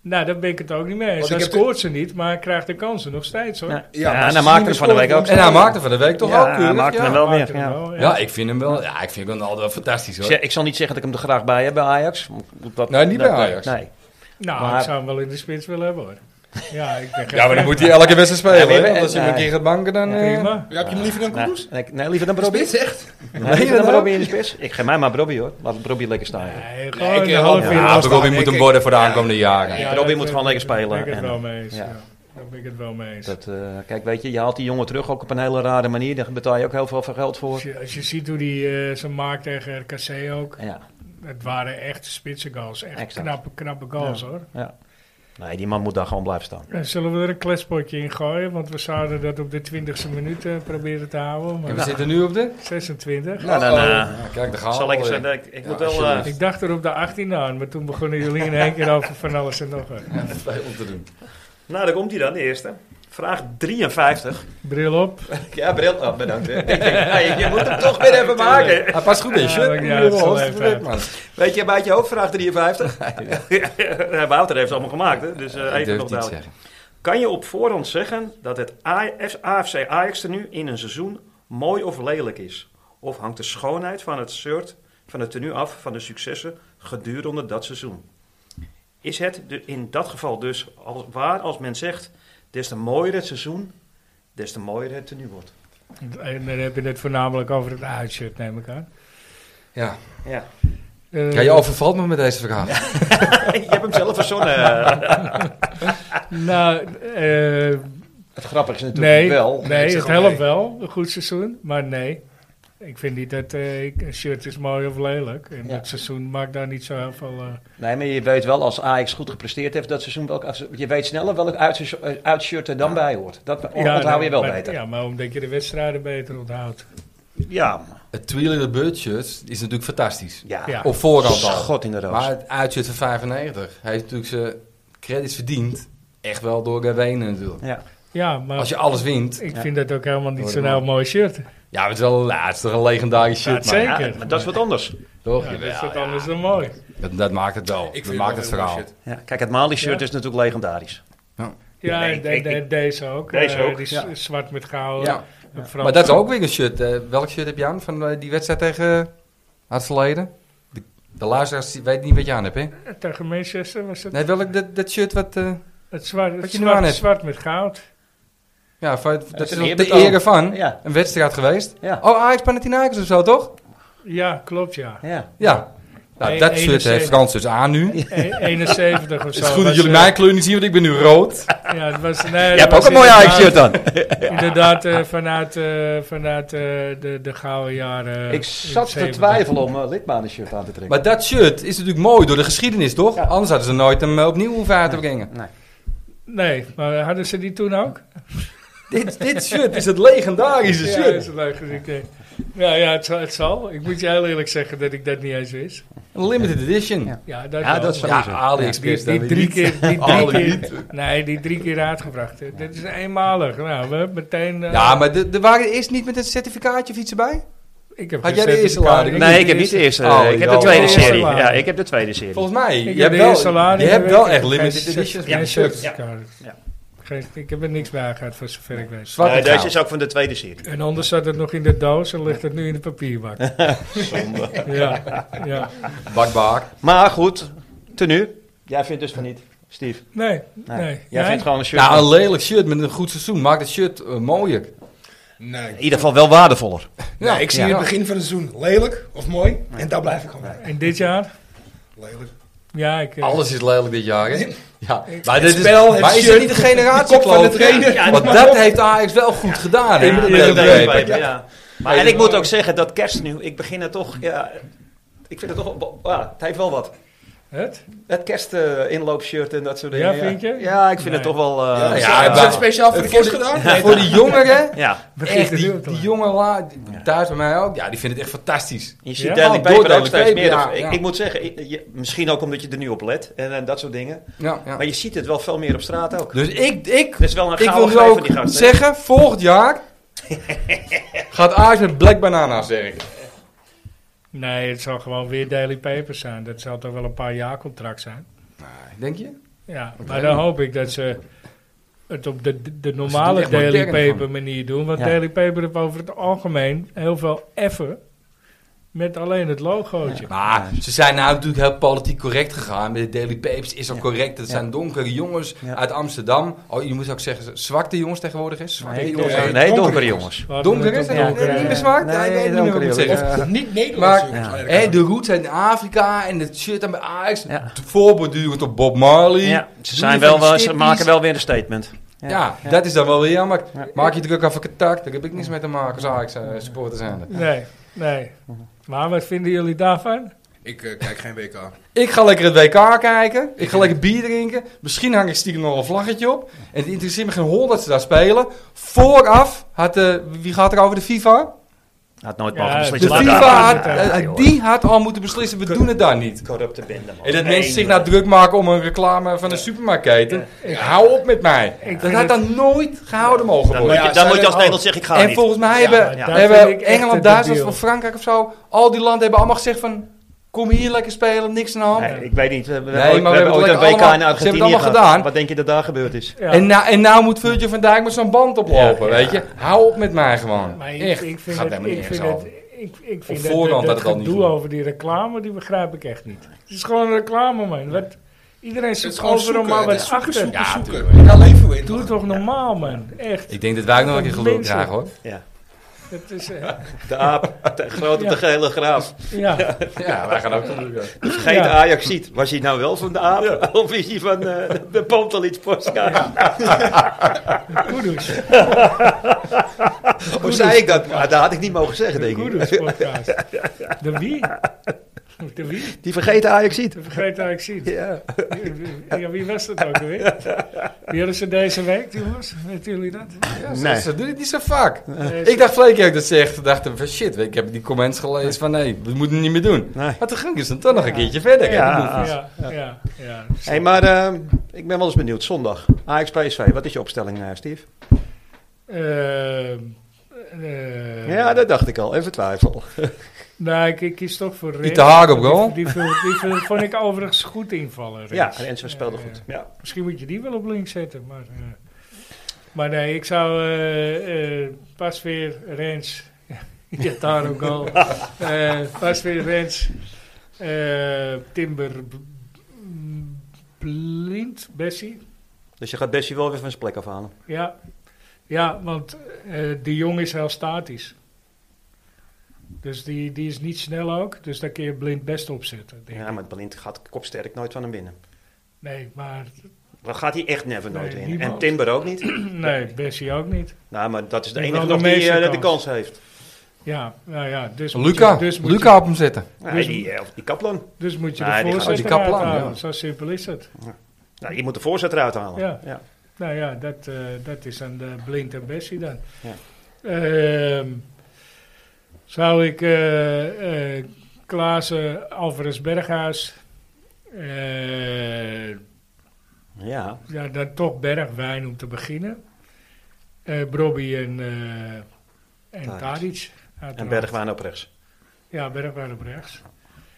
Nou, daar ben ik het ook niet mee eens. Want ik Hij heb de- scoort ze niet, maar hij krijgt de kansen nog steeds hoor. Ja, Ja, ja, maar en ze dan maakte zien hem de van de week scoren ook. van- En hij maakte van de week toch ook Ja, hij keurig, maakte ja. hem wel Maakt meer. hem Ja. wel, Ja, ik vind hem wel, ja, ik vind Ronaldo wel fantastisch Ik hoor. zeg- Ik zal niet zeggen dat ik hem er graag bij heb bij Ajax. Dat, Nee, niet dat- bij Ajax. Nee. Nou, Maar- ik zou hem wel in de spits willen hebben hoor. Ja, ik ben geen Ja, maar dan fan. moet hij elke wedstrijd Ja, spelen. maar- hè? Want als je hem een nee. keer gaat banken, dan... eh, Prima. Ja, heb je hem liever dan Nee, Kudus? nee, nee, liever dan Brobby. Spits, echt? Nee, liever dan inderdaad. Brobby nou in de spits. Ik geef mij maar Brobby hoor. Laat Brobby lekker staan. joh. Nee, ik, gewoon een eh, half uur ja, Ja, afstand. Robin Robbie moet hem worden voor de aankomende jaren. Ja. dat Robin moet ben- gewoon lekker Daar ben spelen ik het en- wel mee eens. ja. Ja. Daar ben ik het wel mee eens. Dat, eh, kijk, weet je, je haalt die jongen terug ook op een hele rare manier. Daar betaal je ook heel veel geld voor. Als je, als je ziet hoe die eh, ze maakt tegen RKC ook. Ja. Het waren echt spitse goals. Echt Exact. knappe, knappe goals hoor. Ja. Nee, die man moet daar gewoon blijven staan. Eh, Zullen we er een kletspotje in gooien? Want we zouden dat op de 20ste minuut eh, proberen te houden. En Maar we zitten nu op de... 26. Nou, dan eh, Ja, Kijk, daar gaan we zal ik alweer. zeggen, ik, ik Ja, moet wel... eh alsjeblieft. Ik dacht er op de 18 aan, maar toen begonnen jullie in één keer over van alles en nog wat. om te doen. nou, daar komt hij dan, de eerste. Vraag 53. Bril op. Ja, bril. Oh, bedankt. hè. Ik denk, hey, je moet hem toch weer even maken. Hij past goed in, Ja, shit. maar ja, het zal even uit. man. Weet je, buiten je hoofd, vraag 53. Ja. Wouter heeft ze allemaal gemaakt, hè? dus eh, Ik even durf nog het niet te duidelijk. zeggen. Kan je op voorhand zeggen dat het AF AFC Ajax er nu in een seizoen mooi of lelijk is? Of hangt de schoonheid van het shirt van het tenue af van de successen gedurende dat seizoen? Is het de- in dat geval dus als, waar als men zegt, des te mooier het seizoen, des te mooier het tenue wordt? En dan heb je het voornamelijk over het uitshirt, neem ik aan. Ja. Ja, Eh, ja, je overvalt me met deze vraag. je hebt hem zelf verzonnen. Nou, eh, Het grappige is natuurlijk nee, wel... nee het helpt wel, een goed seizoen, maar nee. Ik vind niet dat eh, ik- een shirt is mooi of lelijk. En Ja. het seizoen maakt daar niet zo heel veel... eh, Nee, maar je weet wel als Ajax goed gepresteerd heeft dat seizoen, welk, als- je weet sneller welk uitse- eh, uitshirt er dan bij hoort. Dat onthoud je wel maar- beter. Ja, Ja, maar omdat je de wedstrijden beter onthoudt. ja. Het Twilight the Bird shirt is natuurlijk fantastisch. Ja. Op voorhand al. Schot in de roos. Maar het uitshirt van 95 hij heeft natuurlijk zijn credits verdiend. Echt wel door Gawene natuurlijk. ja. Ja, maar Als je alles wint. ik Ja. vind dat ook helemaal niet Hoor zo'n hem heel mooi shirt. Ja, maar het is wel ja, het is toch een legendarisch Ja, shirt, het man. zeker. Ja, maar dat is wat anders. Toch? Ja, dus dat Jawel, is wat ja. anders dan mooi. Dat, dat maakt het wel. Ik dat vind maakt het verhaal. Ja. Kijk, het Mali shirt Ja. is natuurlijk legendarisch. Ja, Nee, en de- ik- de- ik- deze ook. Deze Eh, ook, die z- ja. zwart met goud. Ja. Een Frans- Maar dat is ook weer een shirt. eh, welk shirt heb je aan van eh, die wedstrijd tegen Hartsleden? De, de luisteraars die- weten niet wat je aan hebt, hè? Eh, Tegen Manchester was het. Nee, welk dat, dat shirt wat... eh, Het zwart, het Wat je nu aan zwart, hebt. zwart met goud. ja, van- dat is is een nog de eerbetoon. ere van. Ja. Een wedstrijd geweest. Ja. Oh, Ajax Panathinaikos of zo, toch? Ja, klopt ja. Ja. Ja. Nou, Nee, dat shirt 71. heeft Frans dus aan nu. E- 71 of Het zo. is goed dat was, jullie eh, mijn kleur niet zien, want ik ben nu rood. Ja, het was, nee, Je dat hebt ook was een mooi inderdaad- Ajax shirt aan. Inderdaad, eh, vanuit, eh, vanuit eh, de, de gouden jaren. Ik zat te 70. twijfelen om een Lidmanen shirt aan te trekken. Maar dat shirt is natuurlijk mooi door de geschiedenis, toch? Ja. Anders hadden ze nooit hem eh, opnieuw hoeven uit te brengen. Nee. Nee, maar hadden ze die toen ook? dit, dit shirt is het legendarische Ja, dat is een leuk gezicht. nee. Ja, ja het, zal, het zal. Ik moet je heel eerlijk zeggen dat ik dat niet eens wist. Een limited edition. Ja. Ja, dat, Ja, wel, dat is maar- Ja, Sowieso. AliExpress. Die, die dan drie weer niet. keer, die drie Alle keer, nee, die drie keer uitgebracht. hè. Dit is eenmalig. Nou, we hebben meteen. eh, Ja, maar de- er waren eerst niet met een certificaatje of iets erbij? ik heb had geen jij de eerste certificaat. lading? Ik Nee, ik heb niet de eerste. eh, Oh, ik heb de joh. tweede De eerste serie. laag. Ja, ik heb de tweede serie. Volgens mij. Ik Je heb hebt de wel, eerste lading, je hebt ik wel heb echt geen limited cer- editions geen met shirts. certificaat. Ja. Geen- Ik heb er niks bij gehad, voor zover ik weet. Zwart Nee, en deze goud. is ook van de tweede serie. En anders zat het nog in de doos en ligt het nu in de papierbak. Ja, ja. Bakbaak. Maar goed, tenue. Jij vindt dus van niet, Steve. Nee, Nee. nee. Jij Nee? vindt gewoon een shirt. Nou, een lelijk shirt met een goed seizoen maakt het shirt eh, mooier. Nee. in ieder geval wel waardevoller. Ja, Nee, ik zie ja. het begin van het seizoen lelijk of mooi. En daar blijf ik gewoon bij. En dit jaar? Lelijk. Ja, ik... eh, Alles is lelijk dit jaar, hè? Ja, maar dit spel, is, het maar is shirt, het niet de kop de van de generatiekloof? trainer. Ja, Want dat heeft Ajax wel goed gedaan, hè? Ja, Dat dat heb ik is begrepen. begrepen, ja. Maar en ik moet ook zeggen dat kerst nu, ik begin er toch, ja, ik vind het toch, ja, het heeft wel wat. Het? Het kerstinloopshirt en dat soort dingen. Ja, vind je? Ja, ik vind het Nee. toch wel... eh, ja, ja, is ja, dat- is maar- dat speciaal voor de Voor kids de- gedaan? Voor de jongeren, Begin echt, te die, doen, die toch? jonge la, thuis bij mij ook, ja, die vinden het echt fantastisch. Je ziet Ja. Daily Oh, door Paper ook Daily steeds Paper, meer. ja, ik, ja. ik moet zeggen, ik- je- misschien ook omdat je er nu op let en, eh, dat soort dingen. Ja, ja. Maar je ziet het wel veel meer op straat ook. Dus ik, ik, Er is wel een ik wil gouden nu greep van ook die gast. hè? zeggen, volgend jaar gaat Ajax met Black Banana, zeg ik. Nee, het zal gewoon weer Daily Papers zijn. Dat zal toch wel een paar jaar contract zijn. Denk je? Ja, maar weet dan ik. hoop ik dat ze het op de, de, de doen normale echt modern Daily Paper gewoon. manier doen. Want Ja. Daily Paper heeft over het algemeen heel veel effen met alleen het logootje. Maar ze zijn nou natuurlijk heel politiek correct gegaan. Met de Daily Papers is al correct. Het Ja. zijn donkere jongens Ja. uit Amsterdam. Oh, je moet ook zeggen, zwarte jongens tegenwoordig is. Zwarte Nee, jongens. donkere- Nee, nee, donkere donkere jongens. jongens. Waar Donker we het is dat op- Ja. ook niet eh, meer zwart? Nee, Ja, ik weet niet meer hoe ik donkere moet jongens. zeggen. Of Ja. niet Nederlands. Maar- Eh? jongens, Ja. eigenlijk. Hé, de roots zijn in Afrika en het shit aan bij Ajax. Ja. Voorbordurend op Bob Marley. Ja, Doe ze, je zijn van wel, die wel, ze stippies. maken wel weer een statement. Ja, dat is dan wel weer jammer. Ja. Maak je druk over contact, daar heb ik niks mee te maken als Ajax eh, supporter zijn. Nee, nee. Maar wat vinden jullie daarvan? Ik eh, kijk geen WK. Ik ga lekker het WK kijken, ik ga lekker bier drinken, misschien hang ik stiekem nog een vlaggetje op. En het interesseert me geen hol dat ze daar spelen. Vooraf had de, wie gaat er over de FIFA? Had nooit Ja, mogen De beslissen. laat FIFA daar. had, eh, eh, die had al moeten beslissen, we doen het daar niet. corrupte bende, man. En dat mensen zich Eén, nou druk maken om een reclame van een supermarktketen. Hou op met mij. Ik dat vind had het- dan nooit gehouden mogen Dan moet worden. Ja, je, zij dan moet je als zijn- Nederland zeggen, ik ga en niet. volgens mij Ja, hebben, ja. Dat vind ik hebben echt Engeland, een Duitsland debiel. of Frankrijk of zo... al die landen hebben allemaal gezegd van... kom hier lekker spelen, niks aan de hand. Nee, ik weet niet. We hebben, Nee, ooit, maar we we hebben ooit hebben een het WK allemaal- in ze Argentinië hebben het allemaal gehad. gedaan. Wat denk je dat daar gebeurd is? Ja. En, nou en nou moet Virgil van Dijk met zo'n band oplopen, Ja, ja. weet je. Hou op met mij gewoon. Maar ik, echt, ik vind gaat het, helemaal ik niet vind eens het, over. ik, ik Op vind het, voorhand dat, had dat het al niet gedoe gehoord. over die reclame, die begrijp ik echt niet. Het is gewoon een reclame, man. Wat, iedereen Het is zoekt gewoon overal zoeken. maar Het wat is zoeken, achter. zoeken, Ja, zoeken. tuurlijk. Daar leven we in. Doe man. toch normaal, man. Echt. Ik denk dat wij ook nog een keer gelul Mensen. krijgen, hoor. Ja. Dat is, eh, De aap, de grote Ja. de gele graaf. ja. Ja, wij gaan ook gelul krijgen. Vergeet Ja. Ajax ziet. Was hij nou wel van de aap? Of is hij van eh, de Pantelits Postka? Kudus. Hoe zei ik dat? Maar dat had ik niet mogen zeggen, denk ik. Kudus podcast. De wie? De wie? Die vergeten Ajax ziet. De vergeet dat ik zie. Ja. Ja, wie was dat ook alweer? Wie hadden ze deze week, jongens? Weten jullie dat? Ja, ze- Nee. Ze doen het niet zo vaak. Deze- Ik dacht Vleekerk dat zegt, dacht ik van shit, ik heb die comments gelezen van nee, we moeten het niet meer doen. Nee. Maar toen ging ze dan toch nog een keertje verder. Ja. Ja, ja, ja. Hey, maar eh, ik ben wel eens benieuwd. Zondag. Ajax PSV. Wat is je opstelling, eh, Steve? Ehm, eh, Ja, dat dacht ik al. Even twijfel. Nou, ik, ik kies toch voor Rick. Niet te haak op goal. Die, die, viel- die viel- vond ik overigens goed invallen. Rick. Ja, Renzo speelde Ja, goed. ja. Ja. Misschien moet je die wel op links zetten. Maar, eh, maar nee, ik zou eh, eh, pas weer Rens. ja, daar ook al. Eh, pas weer Rens. eh, Timber. B- M- Blind, Bessie. Dus je gaat Bessie wel weer van zijn plek afhalen. Ja, ja want eh, de jong is heel statisch. Dus die, die is niet snel ook. Dus daar kun je blind best op zetten. denk Ja, ik. maar Blind gaat kopsterk nooit van hem winnen. Nee, maar Dan gaat hij echt never nooit Nee, winnen. niemand. En Timber ook niet. nee, Bessie ook niet. Nou, maar dat is de Die enige wel nog de die eh, meeste de kans. kans heeft. Ja, nou ja, dus moet Luca, je, dus moet Luca op hem zetten. Nee, Dus- die, eh, of die Kaplan. je, dus moet je Nee, de die gaat- voorzitter die Kaplan, uithalen. ja. Zo simpel is het. Nou, je moet de voorzitter uithalen. Ja. Ja. Nou ja, dat, eh, dat is aan de blind en Bessie dan. Ja. Ehm, zou ik eh eh Klaassen, Alvarez Berghuis, eh, Ja. ja, dan toch Bergwijn om te beginnen. Eh Brobby en, eh en Tadic. Tadic. En uiteraard. Bergwijn op rechts. Ja, Bergwijn op rechts.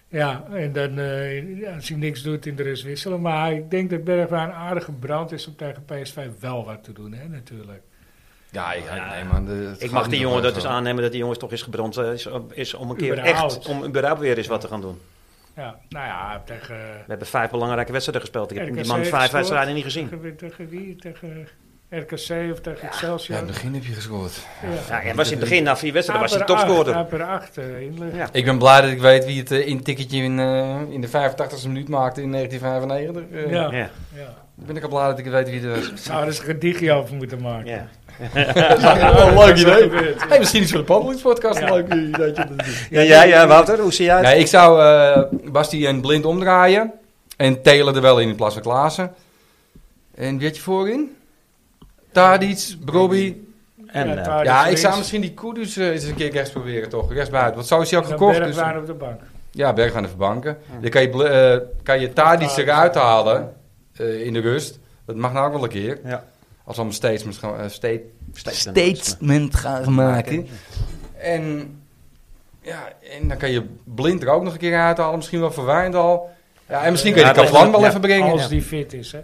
Ja, en dan eh, ja, als hij niks doet in de rest wisselen. Maar ik denk dat Bergwijn aardig gebrand is om tegen PSV wel wat te doen, hè, natuurlijk. Ja, ik, nee man. de- het Ik gaat mag niet die jongen nog dat dus eens zo. aannemen dat die jongens toch is gebrand. eh, Is, is om een keer Überhaupt. echt, om überhaupt weer eens wat te gaan doen. Ja, nou ja, tegen, eh, We hebben vijf belangrijke wedstrijden gespeeld. Ik heb RKC die man heeft vijf gescoord. wedstrijden niet gezien. tegen, tegen wie? Tegen RKC of tegen Excelsior? Ja, in het begin heb je gescoord. Ja, en was in het begin, na vier wedstrijden, was hij topscorer. per acht, eh, inleg. Ja. Ik ben blij dat ik weet wie het eh, intikketje in, eh, in de 85e minuut maakte in 1995. Eh, Ja. Ja, Ja. Ben ik al blij dat ik weet wie het was. Zouden ze er een digi over moeten maken? ja. Wel een leuk dat idee. gebeurt, ja. Hey, misschien is voor de Pantelits podcast Ja. een leuk idee. dat je dat doet. Ja, jij, eh, Wouter, hoe zie jij het? Nee, ik zou eh Basti en Blind omdraaien. En Telen er wel in in plaats van Klaassen. En wie had je voorin? Tadic, Broby. En, eh, Tadic Ja, ik links. zou misschien die Kudus eh, eens een keer rechts proberen, toch? Rechts buiten. Want zo is hij ook En gekocht. Dus, Bergwijn op de bank. ja, Bergwijn de verbanken. Dan kan je, bl- eh kan je Tadic eruit halen eh, in de rust. Dat mag nou ook wel een keer. ja. Als we hem steeds misschien, eh, steeds Steeds een- statement gaan maken. En, ja, en dan kan je blind er ook nog een keer uithalen. Misschien wel verwijnd al. Ja, en misschien kan je Ja, de dat- Kaplan wel ja. even brengen. ja. Als die fit is, hè.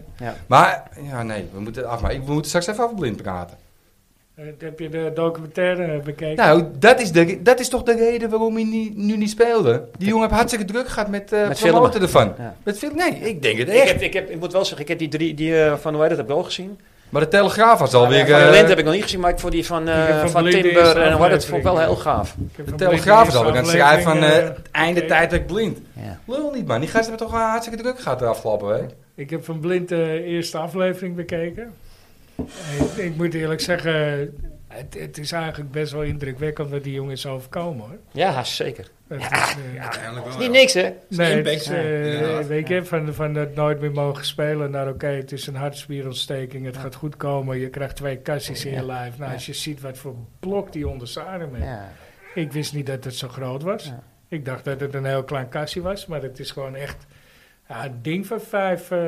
Maar, ja, nee, we moeten, af, maar ik, we moeten straks even over blind praten. Eh, Heb je de documentaire bekeken? Nou, dat is, de, dat is toch de reden waarom hij niet, nu niet speelde? Die jongen heeft hartstikke druk gehad met, eh Met filmen. promoten ervan. Ja. Met film, nee, ik denk het Ik, echt. heb, ik, heb, ik moet wel zeggen, ik heb die drie die, eh, van hoe heet dat, heb ik wel gezien. Maar de Telegraaf was alweer... van eh, Lent heb ik nog niet gezien, maar ik vond die van, eh, Ik heb van van, Blind de Timber eerste en hoe heet dat vond ik wel heel aflevering. gaaf. Ik heb de van Telegraaf is Blind alweer aan de het eerste schrijven van... eh, aflevering, het einde gekeken. tijd dat ik blind. Ja. Lul niet, man. Die gasten hebben toch wel hartstikke druk gehad de afgelopen week. eh, Ik heb van Blind de eerste aflevering bekeken. Ik, ik moet eerlijk zeggen, het, het is eigenlijk best wel indrukwekkend dat die jongen is overkomen, hoor. Ja, zeker. Dat is, eh, Uiteindelijk Is wel. niet niks, hè? Nee, het Impact, is, ja. eh, Ja. weet je, van, van het nooit meer mogen spelen naar oké, het is een hartspierontsteking, het gaat goed komen, je krijgt twee kassies in je Ja. lijf. Nou, Ja. als je ziet wat voor blok die onder zijn arm heeft. Ja. Ik wist niet dat het zo groot was. Ja. Ik dacht dat het een heel klein kassie was, maar het is gewoon echt ja, een ding van vijf, eh,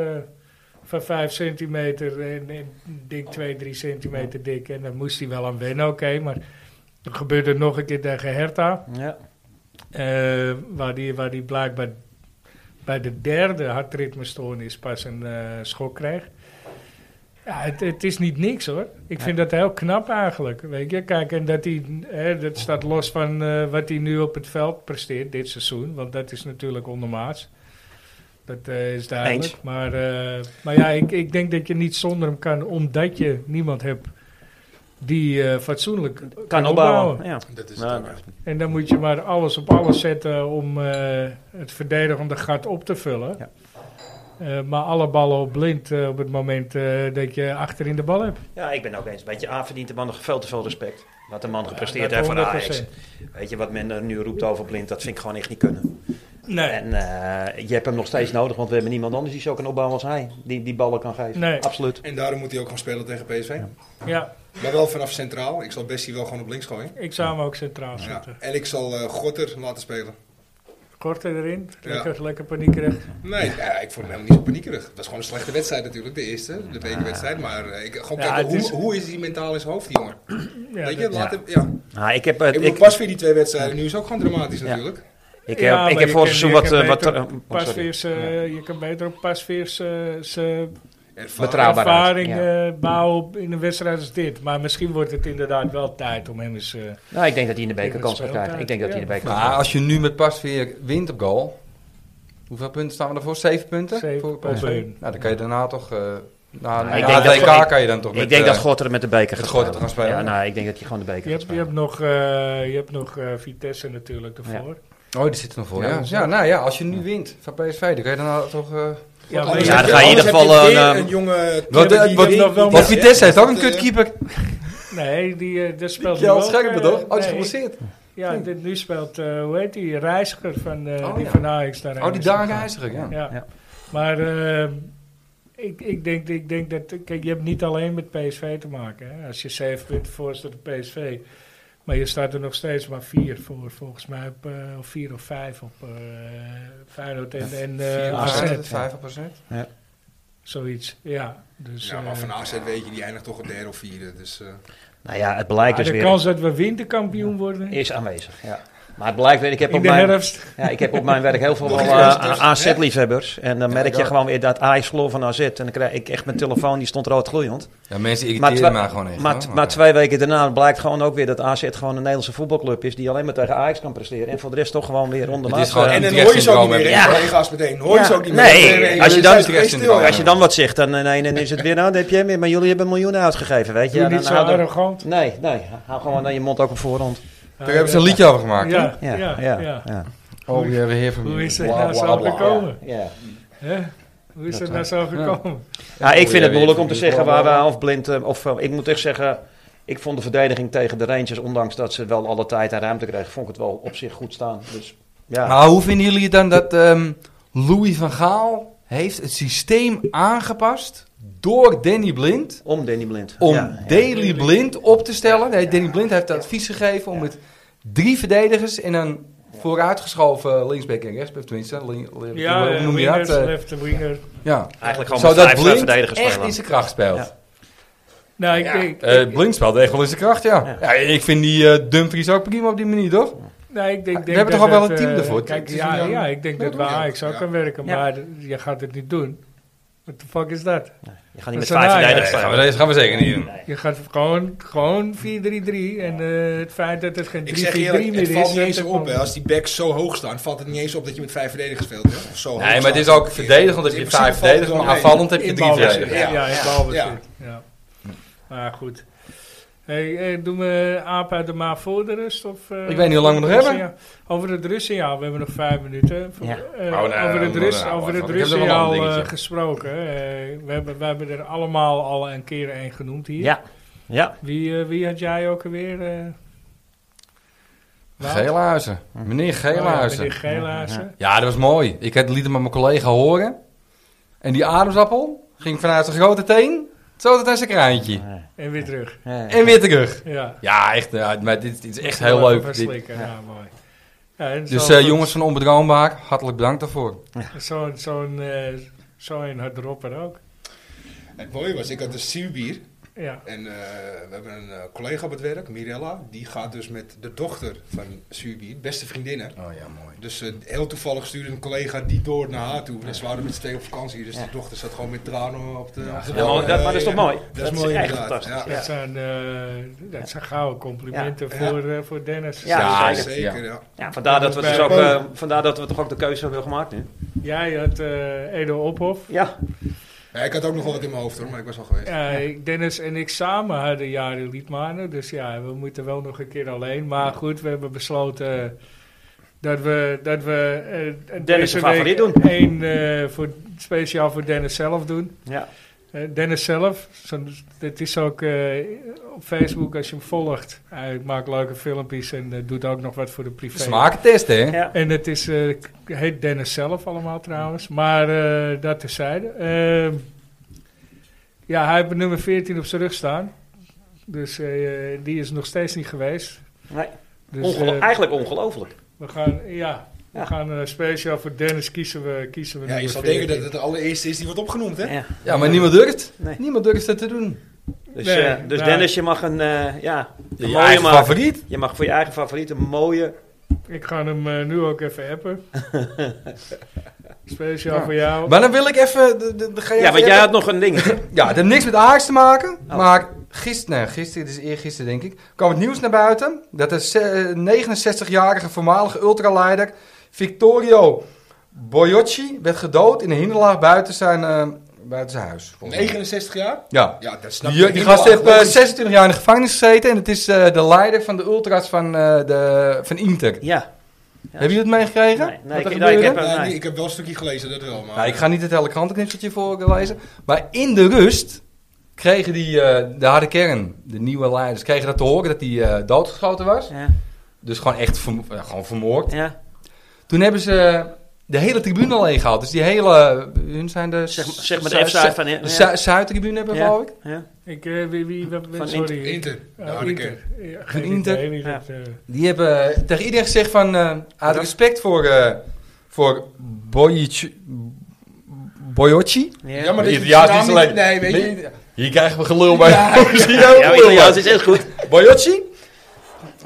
van vijf centimeter en, en dik twee, drie centimeter dik. En daar moest hij wel aan wennen, oké, maar dat gebeurde nog een keer tegen Hertha. Ja. Eh, waar, die, waar die blijkbaar bij de derde hartritmestoornis pas een eh, schok kreeg. Ja, het, het is niet niks hoor. Ik vind dat heel knap eigenlijk. Weet je, kijk, en dat hij, hè, dat staat los van eh, wat hij nu op het veld presteert dit seizoen. Want dat is natuurlijk ondermaats. Dat eh, is duidelijk. Eens. Maar, eh, maar ja, ik, ik denk dat je niet zonder hem kan, omdat je niemand hebt die eh, fatsoenlijk Kan opbouwen. Ja. Dat is Ja. het ook echt. en dan moet je maar alles op alles zetten om eh, het verdedigende gat op te vullen. Ja. Eh, maar alle ballen op blind eh, op het moment eh, dat je achterin de bal hebt. ja, ik ben ook eens. Weet je, A verdient de man nog veel te veel respect. Wat de man gepresteerd dat heeft voor 100%. Ajax. Weet je, wat men er nu roept over blind, dat vind ik gewoon echt niet kunnen. Nee. En eh, je hebt hem nog steeds nodig, want we hebben niemand anders die zo kan opbouwen als hij. Die, die ballen kan geven. Nee. Absoluut. eh. En daarom moet hij ook gewoon spelen tegen PSV. Ja, Maar wel vanaf centraal. Ik zal Bessie wel gewoon op links gooien. ik zou hem ook centraal Ja. zetten. En ik zal eh, Gorter laten spelen. Korter erin, Ja. lekker, lekker paniekerig. Nee, ja, ik vond hem helemaal niet zo paniekerig. Het was gewoon een slechte wedstrijd natuurlijk, de eerste, de bekerwedstrijd. Maar eh, ik, gewoon Ja, het kijken, hoe, is- hoe is hij mentaal in zijn hoofd, die jongen? Ja, Weet je, dat- laat hem, ja. Nou, ik heb, eh, Ik, ik, bedoel, pas weer die twee wedstrijden, nu is ook gewoon dramatisch Ja. natuurlijk. ik Ja, heb, maar ik je heb vorig kan- seizoen je wat... kan eh, wat beter eh, oh, sorry. Pasveers, eh, Je kan beter op pasveers eh, zijn Ervaring. Betrouwbaarheid, ervaring ja. eh, bouwen op- in een wedstrijd als dit. Maar misschien wordt het inderdaad wel tijd om hem eens... eh, Nou, ik denk dat hij in de beker Ik kans gaat speel krijgen. Ik denk dat hij in de ja. beker Maar kans als je nu met pas weer wint op goal... Hoeveel punten staan we ervoor? Zeven punten? Zeven voor punten. PSV? Nou, dan kan je daarna toch... eh na Nou, ik na denk het dat- WK kan je dan toch krijgt. met... Ik denk eh, dat Gorter met de beker met gaat spelen. Gorter te gaan spelen, Ja, ja. nou, ik denk dat hij gewoon de beker je, gaat hebt, je spelen. hebt nog, eh, je hebt nog eh, Vitesse natuurlijk ervoor. Oh, die zit er nog voor, Ja, ja. dat Ja, is nou ja, als je nu wint van PSV, dan kan je daarna toch... eh, Ja, maar- Anders Ja, heb dan ga je in ieder anders heb geval je een, weer eh, jonge... Wat, keeper die- wat- die- nog wel die- Want met- die- Vitesse heeft ook een dat, eh, kutkeeper. Nee, die, eh dat speelt nu Kjell ook, Scherpen, eh, toch? Oh, die is nee. geblesseerd. Hm. Ja, dit, nu speelt, eh, hoe heet die, Reiziger van, eh, Oh, die ja. van Ajax daarheen Oh, die is Daan gegaan. Reiziger, ja. Ja. Ja. Maar eh, ik, ik, denk, ik denk dat, kijk, je hebt niet alleen met PSV te maken. Hè. Als je 7 punten voor staat op PSV, maar je staat er nog steeds maar 4 voor, volgens mij, op, eh, of 4 of 5 op eh Feyenoord en, en eh, AZ. 5%. Zoiets, ja. Dus, Ja, maar eh, van AZ weet je, die eindigt toch op derde of vierde. Dus, eh, Nou ja, het blijkt ja, dus Ah, de weer... kans dat we winterkampioen worden Is aanwezig, ja. Maar het blijkt weer, ik heb in op de mijn... herfst. Ja, ik heb op mijn werk heel veel Nog eh, eens luisteren, AZ-liefhebbers. En dan merk je ja. gewoon weer dat Ajax verloor van AZ. En dan krijg ik echt mijn telefoon, die stond rood gloeiend. Ja, mensen Maar, irriteren twa- mij gewoon echt. maar, hoor. t- maar twee weken daarna blijkt gewoon ook weer dat AZ gewoon een Nederlandse voetbalclub is... die alleen maar tegen Ajax kan presteren. En voor de rest toch gewoon weer onder Het is maat, gewoon eh, en dan Utrecht hoor je ze ook niet syndroom meer, hebben. hè, collega's meteen. Hoor je ze Ja. ook niet meer. Nee, als je dan- zijn ze geen Utrecht stil, syndroom. ja. Als je dan wat zegt, dan, eh, nee, dan is het weer, nou, dat heb je meer. Maar jullie hebben miljoenen uitgegeven, weet je. Doe En dan niet zo houden- arrogant. Nee, nee, hou gewoon aan je mond ook op voorhand. Daar hebben ze een liedje over gemaakt. hè? Ja, Ja, ja, ja. ja. Oh, we hebben heer van Hoe is het Bla, nou bla, zo bla. gekomen? ja. Hè? Hoe is het nou zo gekomen? Ja, ik Oh, ja, vind het moeilijk je om te vindt zeggen het waar wel, we eh, of blind... eh, Of, eh, ik moet echt zeggen, ik vond de verdediging tegen de Rangers... ondanks dat ze wel alle tijd en ruimte kregen... vond ik het wel op zich goed staan. Dus ja, Maar hoe vinden jullie dan dat ehm, Louis van Gaal heeft het systeem aangepast door Danny Blind. Om Danny Blind. Om Ja, ja. Daily Blind op te stellen. Nee, Danny Blind heeft advies gegeven om met drie verdedigers en een vooruitgeschoven linksback en rechtsback. Tenminste, link, link- Ja, hoe eh, noem je wingers, dat? Eh, left winger. ja. Eigenlijk gewoon met Zodat vijf Blind verdedigers echt spelen. in zijn kracht speelt. Ja. Nou, ik, Ja. denk- Eh, Blind speelt echt wel in zijn kracht, ja. ja. ik vind die eh Dumfries ook prima op die manier, toch? Nee, nou, ik denk, We denk hebben dat toch al wel het, een team eh, ervoor? Kijk, Het is ja, een- ja, ik denk Ja, dat doe bij je. Ajax ook Ja. kan werken, Ja. maar je gaat het niet doen. What the fuck is dat? Je gaat niet Dat met vijf is een Nee, verdedigers dat gaan we, spelen. dat gaan we zeker niet doen. Je gaat gewoon, gewoon 4-3-3 en eh, het feit dat het geen 3-4-3 Ik meer zeg is... eerlijk, het valt niet dat eens het op. wel- Hè. Als die backs zo hoog staan, valt het niet eens op dat je met vijf verdedigers speelt. Hè? Of zo hoog Nee, maar staan. het is ook verdedigend heb In je principe vijf valt het verdedigers, wel maar mee. aanvallend heb je In drie balbezit. verdedigers. verdedigers. Ja, in Ja. balbezit. Ja. Maar goed. Hey, eh, doen we aap uit de maag voor de rust? Of, eh, Ik weet niet hoe lang we nog Russen, hebben. ja. Over het Russiaal, we hebben nog vijf minuten. Ja. Eh, Oh, nou, over het, nou, Rus, nou, over wacht, het ik heb nog wel een ander Russiaal eh, dingetje. gesproken. eh, we, hebben, we hebben er allemaal al een keer één genoemd hier. Ja. Ja. Wie, eh, wie had jij ook alweer? eh? Wout? Geelhuizen. Meneer Oh, ja, meneer Geelhuizen. Geelhuizen. Ja, dat was mooi. Ik had liet hem aan mijn collega horen. En die ademsappel ging vanuit zijn grote teen zo tot aan zijn kraantje. En weer terug. Ja. En weer terug. Ja. Ja, echt. ja, maar dit, dit is echt heel leuk. Even Dit- slikken, Ja, Nou, mooi. Ja, en Dus zo- eh, jongens van Onbedroombaar, hartelijk bedankt daarvoor. Zo'n zo'n eh zo'n hardropper ook. Het mooie was, ik had een zuurbier. Ja. En eh, we hebben een eh, collega op het werk, Mirella. Die gaat dus met de dochter van zuurbier, beste vriendinnen. Oh ja, mooi. Dus eh, heel toevallig stuurde een collega die door naar haar toe. En ze waren met z'n tweeën op vakantie. Dus die dochter zat gewoon met tranen op de... op de Ja, maar, dat, maar dat is toch mooi? Dat is mooi echt inderdaad, fantastisch. ja. Ja. Dat, zijn, eh, dat zijn gouden complimenten Ja. Voor, eh, voor Dennis. Ja. Ja, zeker. zeker, ja. Ja, vandaar, dat we dus ook, eh, vandaar dat we toch ook de keuze hebben gemaakt nu. Jij had eh, Edo Ophof. Ja. Ja, Ik had ook nog wel wat in mijn hoofd hoor, maar ik was al geweest. Ja, ik- Dennis en ik samen hadden jaren Liedmanen. Dus ja, we moeten wel nog een keer alleen. Maar goed, we hebben besloten eh, dat we, dat we eh, Dennis deze een favoriet week doen. één eh, voor, speciaal voor Dennis zelf doen. Ja. Eh, Dennis zelf, zo'n- dit is ook eh, op Facebook als je hem volgt. Hij maakt leuke filmpjes en eh, doet ook nog wat voor de privé. Smakentest, hè? Ja. En het is, eh, k- heet Dennis zelf allemaal trouwens. Maar eh, dat terzijde. Ehm ja, hij heeft nummer 14 op zijn rug staan. Dus eh, die is nog steeds niet geweest. Nee. Dus Ongelo- eh, eigenlijk ongelooflijk. we gaan, ja, we Ja. gaan eh, speciaal voor Dennis kiezen we, kiezen we Ja, je nummer zal denken 14. dat het de allereerste is die wordt opgenoemd, hè? Ja. Ja, maar niemand durft. Nee. Niemand durft dat te doen. Dus, Nee, eh, dus nee. Dennis, je mag een, eh, ja, een Je mooie eigen maken. favoriet. Je mag voor je eigen favoriet een mooie. Ik ga hem eh, nu ook even appen. speciaal Ja. voor jou. Maar dan wil ik even... de- de- de- ga jij Ja, want even- jij had nog een ding. Ja, het heeft niks met Ajax te maken. Oh. Maar gisteren, nee, gisteren, het is eergisteren denk ik, kwam het nieuws naar buiten dat de ze- eh, 69-jarige voormalige ultraleider Victorio Boyocci werd gedood in een hinderlaag buiten zijn, eh, buiten zijn huis. volgens mij. 69 jaar? Ja. Ja, dat snap Die, ik. die gast heeft eh, 26 jaar in de gevangenis gezeten en het is eh, de leider van de ultras van, eh, de, van Inter. Ja. Ja. Hebben jullie het meegekregen? Nee, nee, Wat er ik- nee, ik gebeurde? heb- Nee, Nee. nee, ik heb wel een stukje gelezen, dat wel. Maar, Nou, ik ga niet het hele krantenknipseltje voor lezen. Maar in de rust kregen die, eh, de harde kern, de nieuwe leiders, kregen dat te horen dat hij eh, doodgeschoten was. Ja. Dus gewoon echt verm- eh, gewoon vermoord. ja. Toen hebben ze de hele tribune leeg gehaald. Dus die hele, hun zijn de... Zeg, zeg maar Zu- de F-side van... Ja. Zu- Zu- Zuidtribune hebben, Ja. geloof ik. Ja. Ik, eh, wie, wie, wat- Van sorry. Inter. Ja, Ja, dat ken ik. Inter. Ja, geen Inter. idee wie Ja. dat, eh, Die hebben eh, tegen iedereen gezegd van... eh, uit Ja. respect voor, eh voor Bojic- Boyocci. Ja. Ja, maar dat je die Ja, het is naam niet- alleen- Nee, weet je. Nee, Hier krijgen we gelul bij. Misschien ook Ja, Italiaans is echt goed. Boyacci?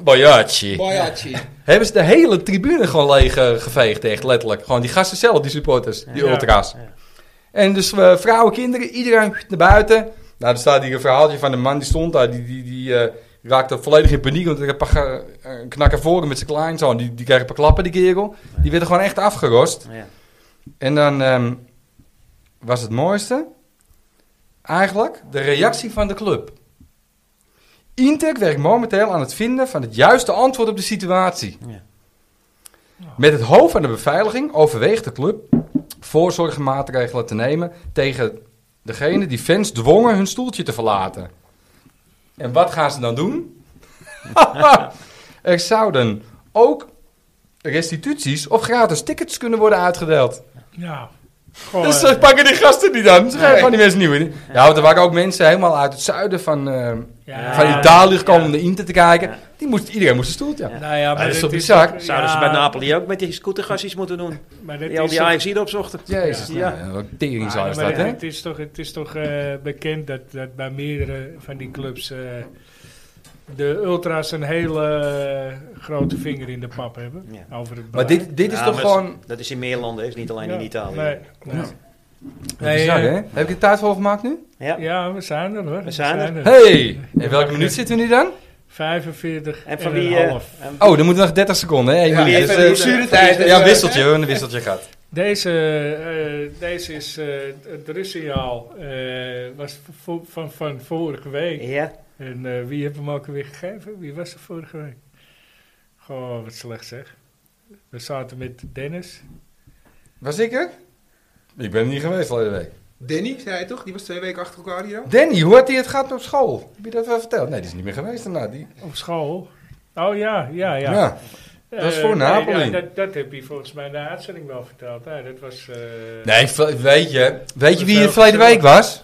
Boyacci. Boyachi. Hebben ze de hele tribune gewoon leeg eh, geveegd, echt letterlijk. Gewoon die gasten zelf, die supporters, die Ja. ultra's. Ja. En dus eh, vrouwen, kinderen, iedereen naar buiten. Nou, er staat hier een verhaaltje van een man die stond daar, die, die, die eh, raakte volledig in paniek. Want er een paar ga- eh, knakker voor hem met zijn kleinzoon, die, die kreeg een paar klappen, die kerel. Die werden gewoon echt afgerost. Ja. En dan ehm, was het mooiste eigenlijk de reactie van de club. Inter werkt momenteel aan het vinden van het juiste antwoord op de situatie. Ja. Met het hoofd van de beveiliging overweegt de club voorzorgsmaatregelen te nemen tegen degene die fans dwongen hun stoeltje te verlaten. En wat gaan ze dan doen? er zouden ook restituties of gratis tickets kunnen worden uitgedeeld. ja. Gewoon, Dus eh, ze pakken die gasten niet aan. Ze gaan Nee. gewoon die mensen nieuw in. Ja, want er waren ook mensen helemaal uit het zuiden van, eh, ja, van Italië gekomen om ja. de Inter te kijken. Die moest, iedereen moest een stoeltje. Ja. Nou ja, maar dat is dit toch bizar? ook- Zouden ze ja, bij Napoli ook met die scootergas iets moeten doen? Maar dit Die al is die toch- AXI erop zochten. Jezus, Ja. nou, ja, wat een teringzaal is maar dat, hè? Het is toch, het is toch eh, bekend dat, dat bij meerdere van die clubs eh, de ultras een hele eh, grote vinger in de pap hebben. Ja. Over het Maar dit, dit is Ja, toch maar gewoon... Dat is in meer landen, is niet alleen Ja, in Italië. Nee, nee. Ja. Nee, bizar, eh, hè? Heb ik de tijd voor gemaakt nu? Ja. Ja, we zijn er hoor. We zijn er. Hey! In welke minuut zitten we nu dan? 45 En van en wie... een eh, half. en- Oh, dan moeten we nog 30 seconden, hè? Eén Ja, minuut. even Dus, eh, de blessuretijd. ja, wisseltje. We hebben een wisseltje gehad. Deze, eh, deze is eh, het rustsignaal. eh, was vo- van, van vorige week. Ja, En eh, wie heeft hem ook weer gegeven? Wie was er vorige week? Goh, wat slecht zeg. We zaten met Dennis. Was ik er? Ik ben er niet geweest de week. Danny, zei hij toch? Die was twee weken achter elkaar hier al. Danny, hoe had hij het gehad op school? Heb je dat wel verteld? Nee, die is niet meer geweest daarna. Die, Op school. Oh ja, ja, ja. ja. dat is Eh, voor nee, Napoli. ja, dat, dat heb je volgens mij in de uitzending wel verteld. Ja, dat was... eh, Nee, vl- weet je, weet je is wie wel er verleden gezellig. week was?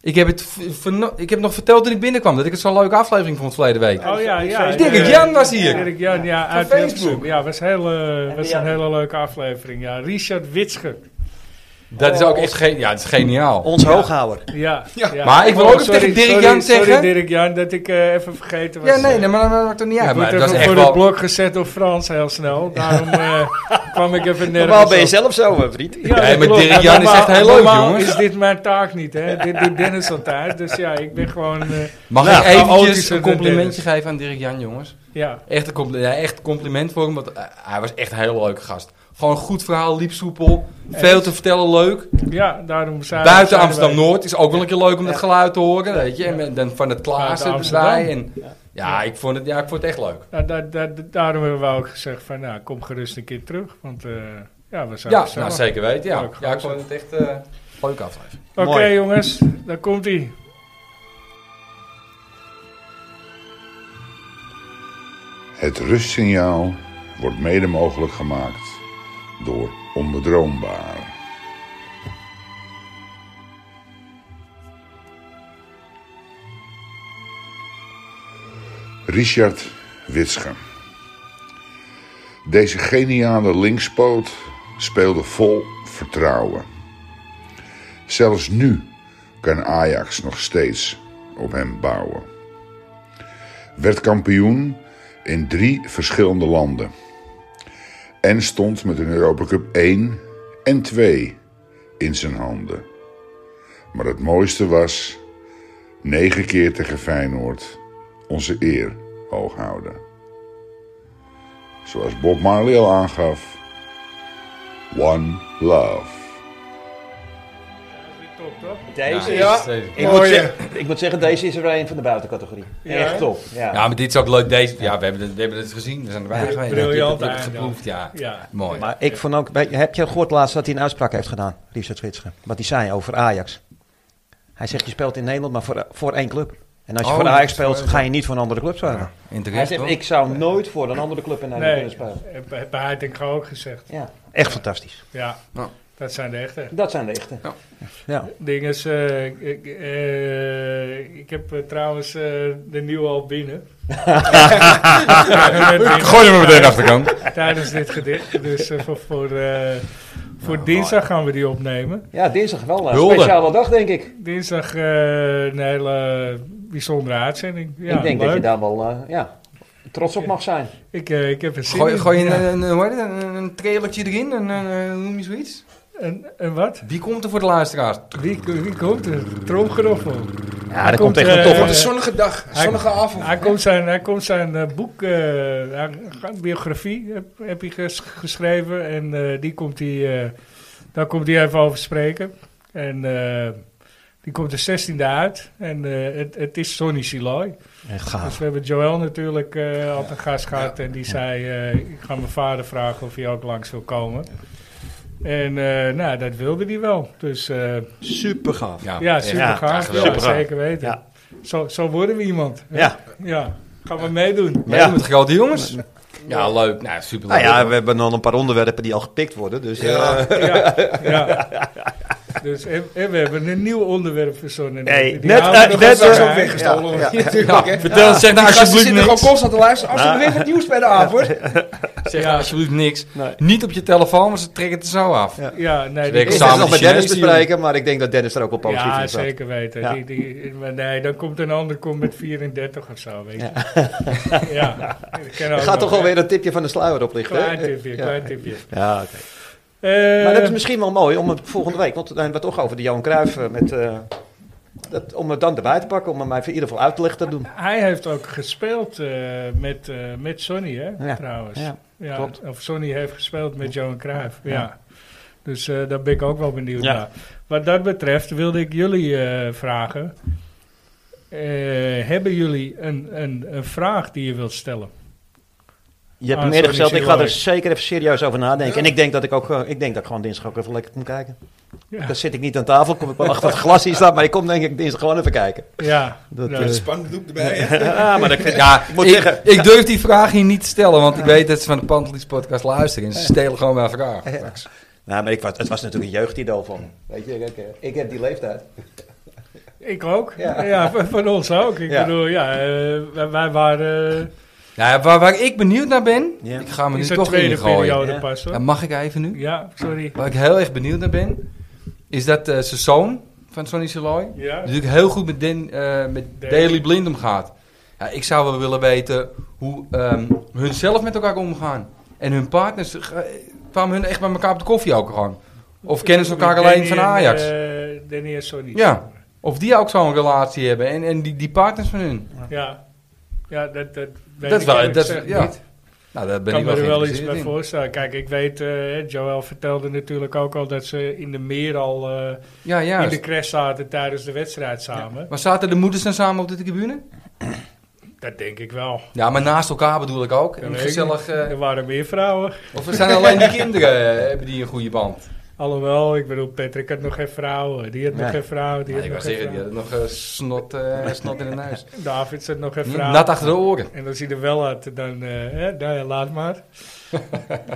Ik heb, het v- verno- ik heb nog verteld toen ik binnenkwam dat ik het zo'n leuke aflevering vond verleden week. Oh ja, ja. Dus Dirk eh, Jan was hier. Dirk Jan, ja, uit Facebook. Hilversum. Ja, was, heel, eh, En was die een had- hele leuke aflevering. Ja, Richard Witsche. Dat is ook echt ge- ja, dat is Oh, geniaal. ons hooghouder. Ja, Oh, Ja. Maar ik wil ook sorry, tegen Dirk sorry, Jan sorry, zeggen- Dirk Jan, dat ik eh, even vergeten was. Ja, nee, nee, maar dat maakt toch niet Ja, uit. Maar maar dat was echt voor wel... het blok gezet door Frans heel snel. Daarom eh, kwam ik even nergens Normaal ben je op. zelf zo, hè, vriend. Ja, Nee, dat maar klopt. Dirk Jan is Normaal- echt heel leuk, normaal jongens. is dit mijn taak niet, hè. dit doet Dennis altijd. Dus ja, ik ben gewoon... eh, Mag Nou, ik eventjes chaotischer een dan complimentje Dennis. geven aan Dirk Jan, jongens? ja, Echt een compli- ja, echt compliment voor hem, want eh, hij was echt een hele leuke gast. Gewoon een goed verhaal, liep soepel, veel te vertellen, leuk. ja, daarom zijn Buiten zijn wij- Amsterdam-Noord is ook wel een keer leuk om dat Ja. geluid te horen, weet je. En met- dan van het Klaassen Buiten erbij. En, Ja. ja, ik vond het, ja, ik vond het echt leuk. Nou, da- da- da- daarom hebben we ook gezegd van, nou, kom gerust een keer terug. Want eh, ja, we zijn Ja, gezellig. nou, zeker weten, ja. Leuk, Ja, ik vond gewoon het echt eh leuk aflevering. Oké Mooi. jongens, daar komt hij. Het rustsignaal wordt mede mogelijk gemaakt door onbedroombare. Richard Witsche. Deze geniale linkspoot speelde vol vertrouwen. Zelfs nu kan Ajax nog steeds op hem bouwen werd kampioen in drie verschillende landen. En stond met een Europa Cup 1 en 2 in zijn handen. Maar het mooiste was negen keer tegen Feyenoord onze eer hoog houden. Zoals Bob Marley al aangaf, One Love. Top, toch? Deze Ja. is... Ik moet, Mooi, zeggen, ik moet zeggen, deze is er een van de buitencategorie. Ja, Echt hè? top. Ja. Ja, maar dit is ook leuk. Deze, ja, we hebben, het, we hebben het gezien. We zijn erbij geweest. briljant We hebben het eigenlijk. geproefd, ja. Ja. Mooi. Maar ik vond ook, weet je, heb je gehoord laatst dat hij een uitspraak heeft gedaan, Richard Zwitser? Wat hij zei over Ajax. Hij zegt, je speelt in Nederland maar voor, voor één club. En als je Oh, voor dat Ajax is speelt, wel- ga je niet voor een andere club spelen. Ja, en terecht, Hij zegt, hoor. ik zou nooit voor een andere club in Nederland Nee, eh, kunnen spelen. heb, heb hij denk ik ook gezegd. Ja, echt fantastisch. Ja, Ja. dat zijn de echte. Dat zijn de echte. Ja. Ja. Ding is, eh, ik, eh, ik heb eh, trouwens eh, de nieuwe al binnen. Gooi hem er meteen achter de kant. Tijdens dit gedicht. Dus eh, voor, voor, eh, voor Nou, dinsdag gaan we die opnemen. ja, dinsdag wel een Hulde. speciale dag, denk ik. Dinsdag eh, een hele bijzondere uitzending. Ja, ik denk dat leuk. je daar wel eh, ja, trots op mag zijn. ik, eh, ik heb een zin Gooi, in. gooi Ja. eh, een, eh, een, een, hoe heet het, een, een trailertje erin. Een, een, een- noem je zoiets? Een, een wat? Wie komt er voor de luisteraars? Wie, wie komt er? Tromgeroffel. Ja, dat komt komt echt echt een een eh, Wat toffe. een zonnige dag, een hij- zonnige avond. Hij komt zijn, hij komt zijn eh, boek, eh, hij- hij- biografie, heb, heb hij ges- geschreven. En eh, die komt hij, eh, daar komt hij even over spreken. En eh, die komt de 16e uit. En eh, het, het is Sonny Siloy. Echt Dus gaaf. we hebben Joël natuurlijk eh altijd gast gehad. En die zei, eh, ik ga mijn vader vragen of hij ook langs wil komen. En eh, nou, dat wilde hij wel. Dus eh, Super gaaf. Oh, ja, echt. super ja, gaaf. Ja, geweldig. zeker weten. Ja. Zo, zo worden we iemand. Ja, Ja, gaan we meedoen. Mee Ja. met grote jongens. Ja, leuk. Nou, superleuk. Nou ja, we hebben dan een paar onderwerpen die al gepikt worden. Dus eh, Ja. Ja, ja. Dus, en, en we hebben een nieuw onderwerp verzonnen. Hey, Die net, houden we eh, nog net, even eh, bij. ook weggestolen. ja, wordt natuurlijk, hè. Vertel, zeg nou Die gasten alsjeblieft zitten gewoon niks. constant te luisteren. Als er weer het nieuws bij de avond. Zeg nou alsjeblieft niks. Nee. Niet op je telefoon, want ze trekken het er zo af. Ja. Ja, nee, Zeker. ik die- zal samen het nog de met Dennis Chinezen bespreken, maar ik denk dat Dennis er ook wel positief ja, in staat. zeker weten. Ja. Die, die, maar nee, dan komt een ander komt met 34 of zo, weet je. Ja. dat kan Er ook gaat nog, toch alweer hè. een tipje van de sluier oplichten. hè? Klein tipje, Ja. klein tipje. Ja, oké. Eh, Maar dat is misschien wel mooi om het volgende week, want dan hebben we het toch over de Johan Cruijff eh, met... eh, dat, om het dan erbij te pakken, om hem even in ieder geval uit te leggen te doen. Hij heeft ook gespeeld eh, met, eh, met Sonny, hè, Ja, trouwens. ja, klopt. Of Sonny heeft gespeeld met Johan Cruijff, ja. Dus eh, daar ben ik ook wel benieuwd Ja. naar. Wat dat betreft wilde ik jullie eh, vragen. Eh, hebben jullie een, een, een vraag die je wilt stellen? Je hebt Ah, hem eerder sorry, gesteld, ik ga er Sjoerd. zeker even serieus over nadenken. Ja. En ik denk dat ik ook, eh, ik denk dat ik gewoon dinsdag ook even lekker moet kijken. Ja. Dan zit ik niet aan tafel, kom ik wel achter het glas hier staan, maar ik kom denk ik dinsdag gewoon even kijken. Ja, Nou, dus Dat, ja. eh, Spandoek erbij. hè. Ja, maar dat vind Ja, moet ik, zeggen. ik durf die vraag hier niet te stellen, want ik weet dat ze van de Pantelis podcast luisteren. En ze stelen gewoon mijn vraag. Nou, maar ik was, het was natuurlijk een jeugdidool van. Weet je, ik, eh, ik heb die leeftijd. Ik ook. Ja. Ja, van, van ons ook. Ik Ja. bedoel, ja, eh, wij, wij waren Nou, waar, waar ik benieuwd naar ben, Ja. ik ga me eh in nu zijn toch tweede in gooien. periode Ja. pas, hoor. Ja, mag ik even nu? Ja, sorry. Waar ik heel erg benieuwd naar ben, is dat eh, zijn zoon van Sonny Saloy Ja. natuurlijk heel goed met, Den, eh, met Daley. Daily Blind omgaat. Ja, ik zou wel willen weten hoe ehm hun zelf met elkaar omgaan. En hun partners, eh, kwamen hun echt bij elkaar op de koffie ook gewoon? Of kennen ze elkaar Danny alleen van en, Ajax? eh, Danny en Sonny. Ja. Of die ook zo'n relatie hebben en, en die, die partners van hun. Ja, ja dat, dat weet Dat ik wel- eerlijk dat- gezegd ja. niet. Nou, daar ben Ik kan ik me wel er wel iets geïnteresseerd bij in. voorstellen. Kijk, ik weet, eh Joël vertelde natuurlijk ook al dat ze in de meer al eh, Ja, in de juist. crash zaten tijdens de wedstrijd samen. Maar zaten de moeders dan samen op de tribune? Dat denk ik wel. Ja, maar naast elkaar bedoel ik ook. Dat En weet ik gezellig, niet. eh, Er waren meer vrouwen. of er zijn alleen die kinderen, eh, hebben die een goede band? Alhoewel, ik bedoel, Patrick had nog geen vrouw. Die had Nee. nog geen vrouw. Die Nou, had ik nog wou geen zeggen, die vrouw. hadden nog eh, snot, eh, snot in de neus. David had nog geen Niet vrouw. Nat achter de oren. En als hij er wel had, dan eh, hè, nou ja, laat maar.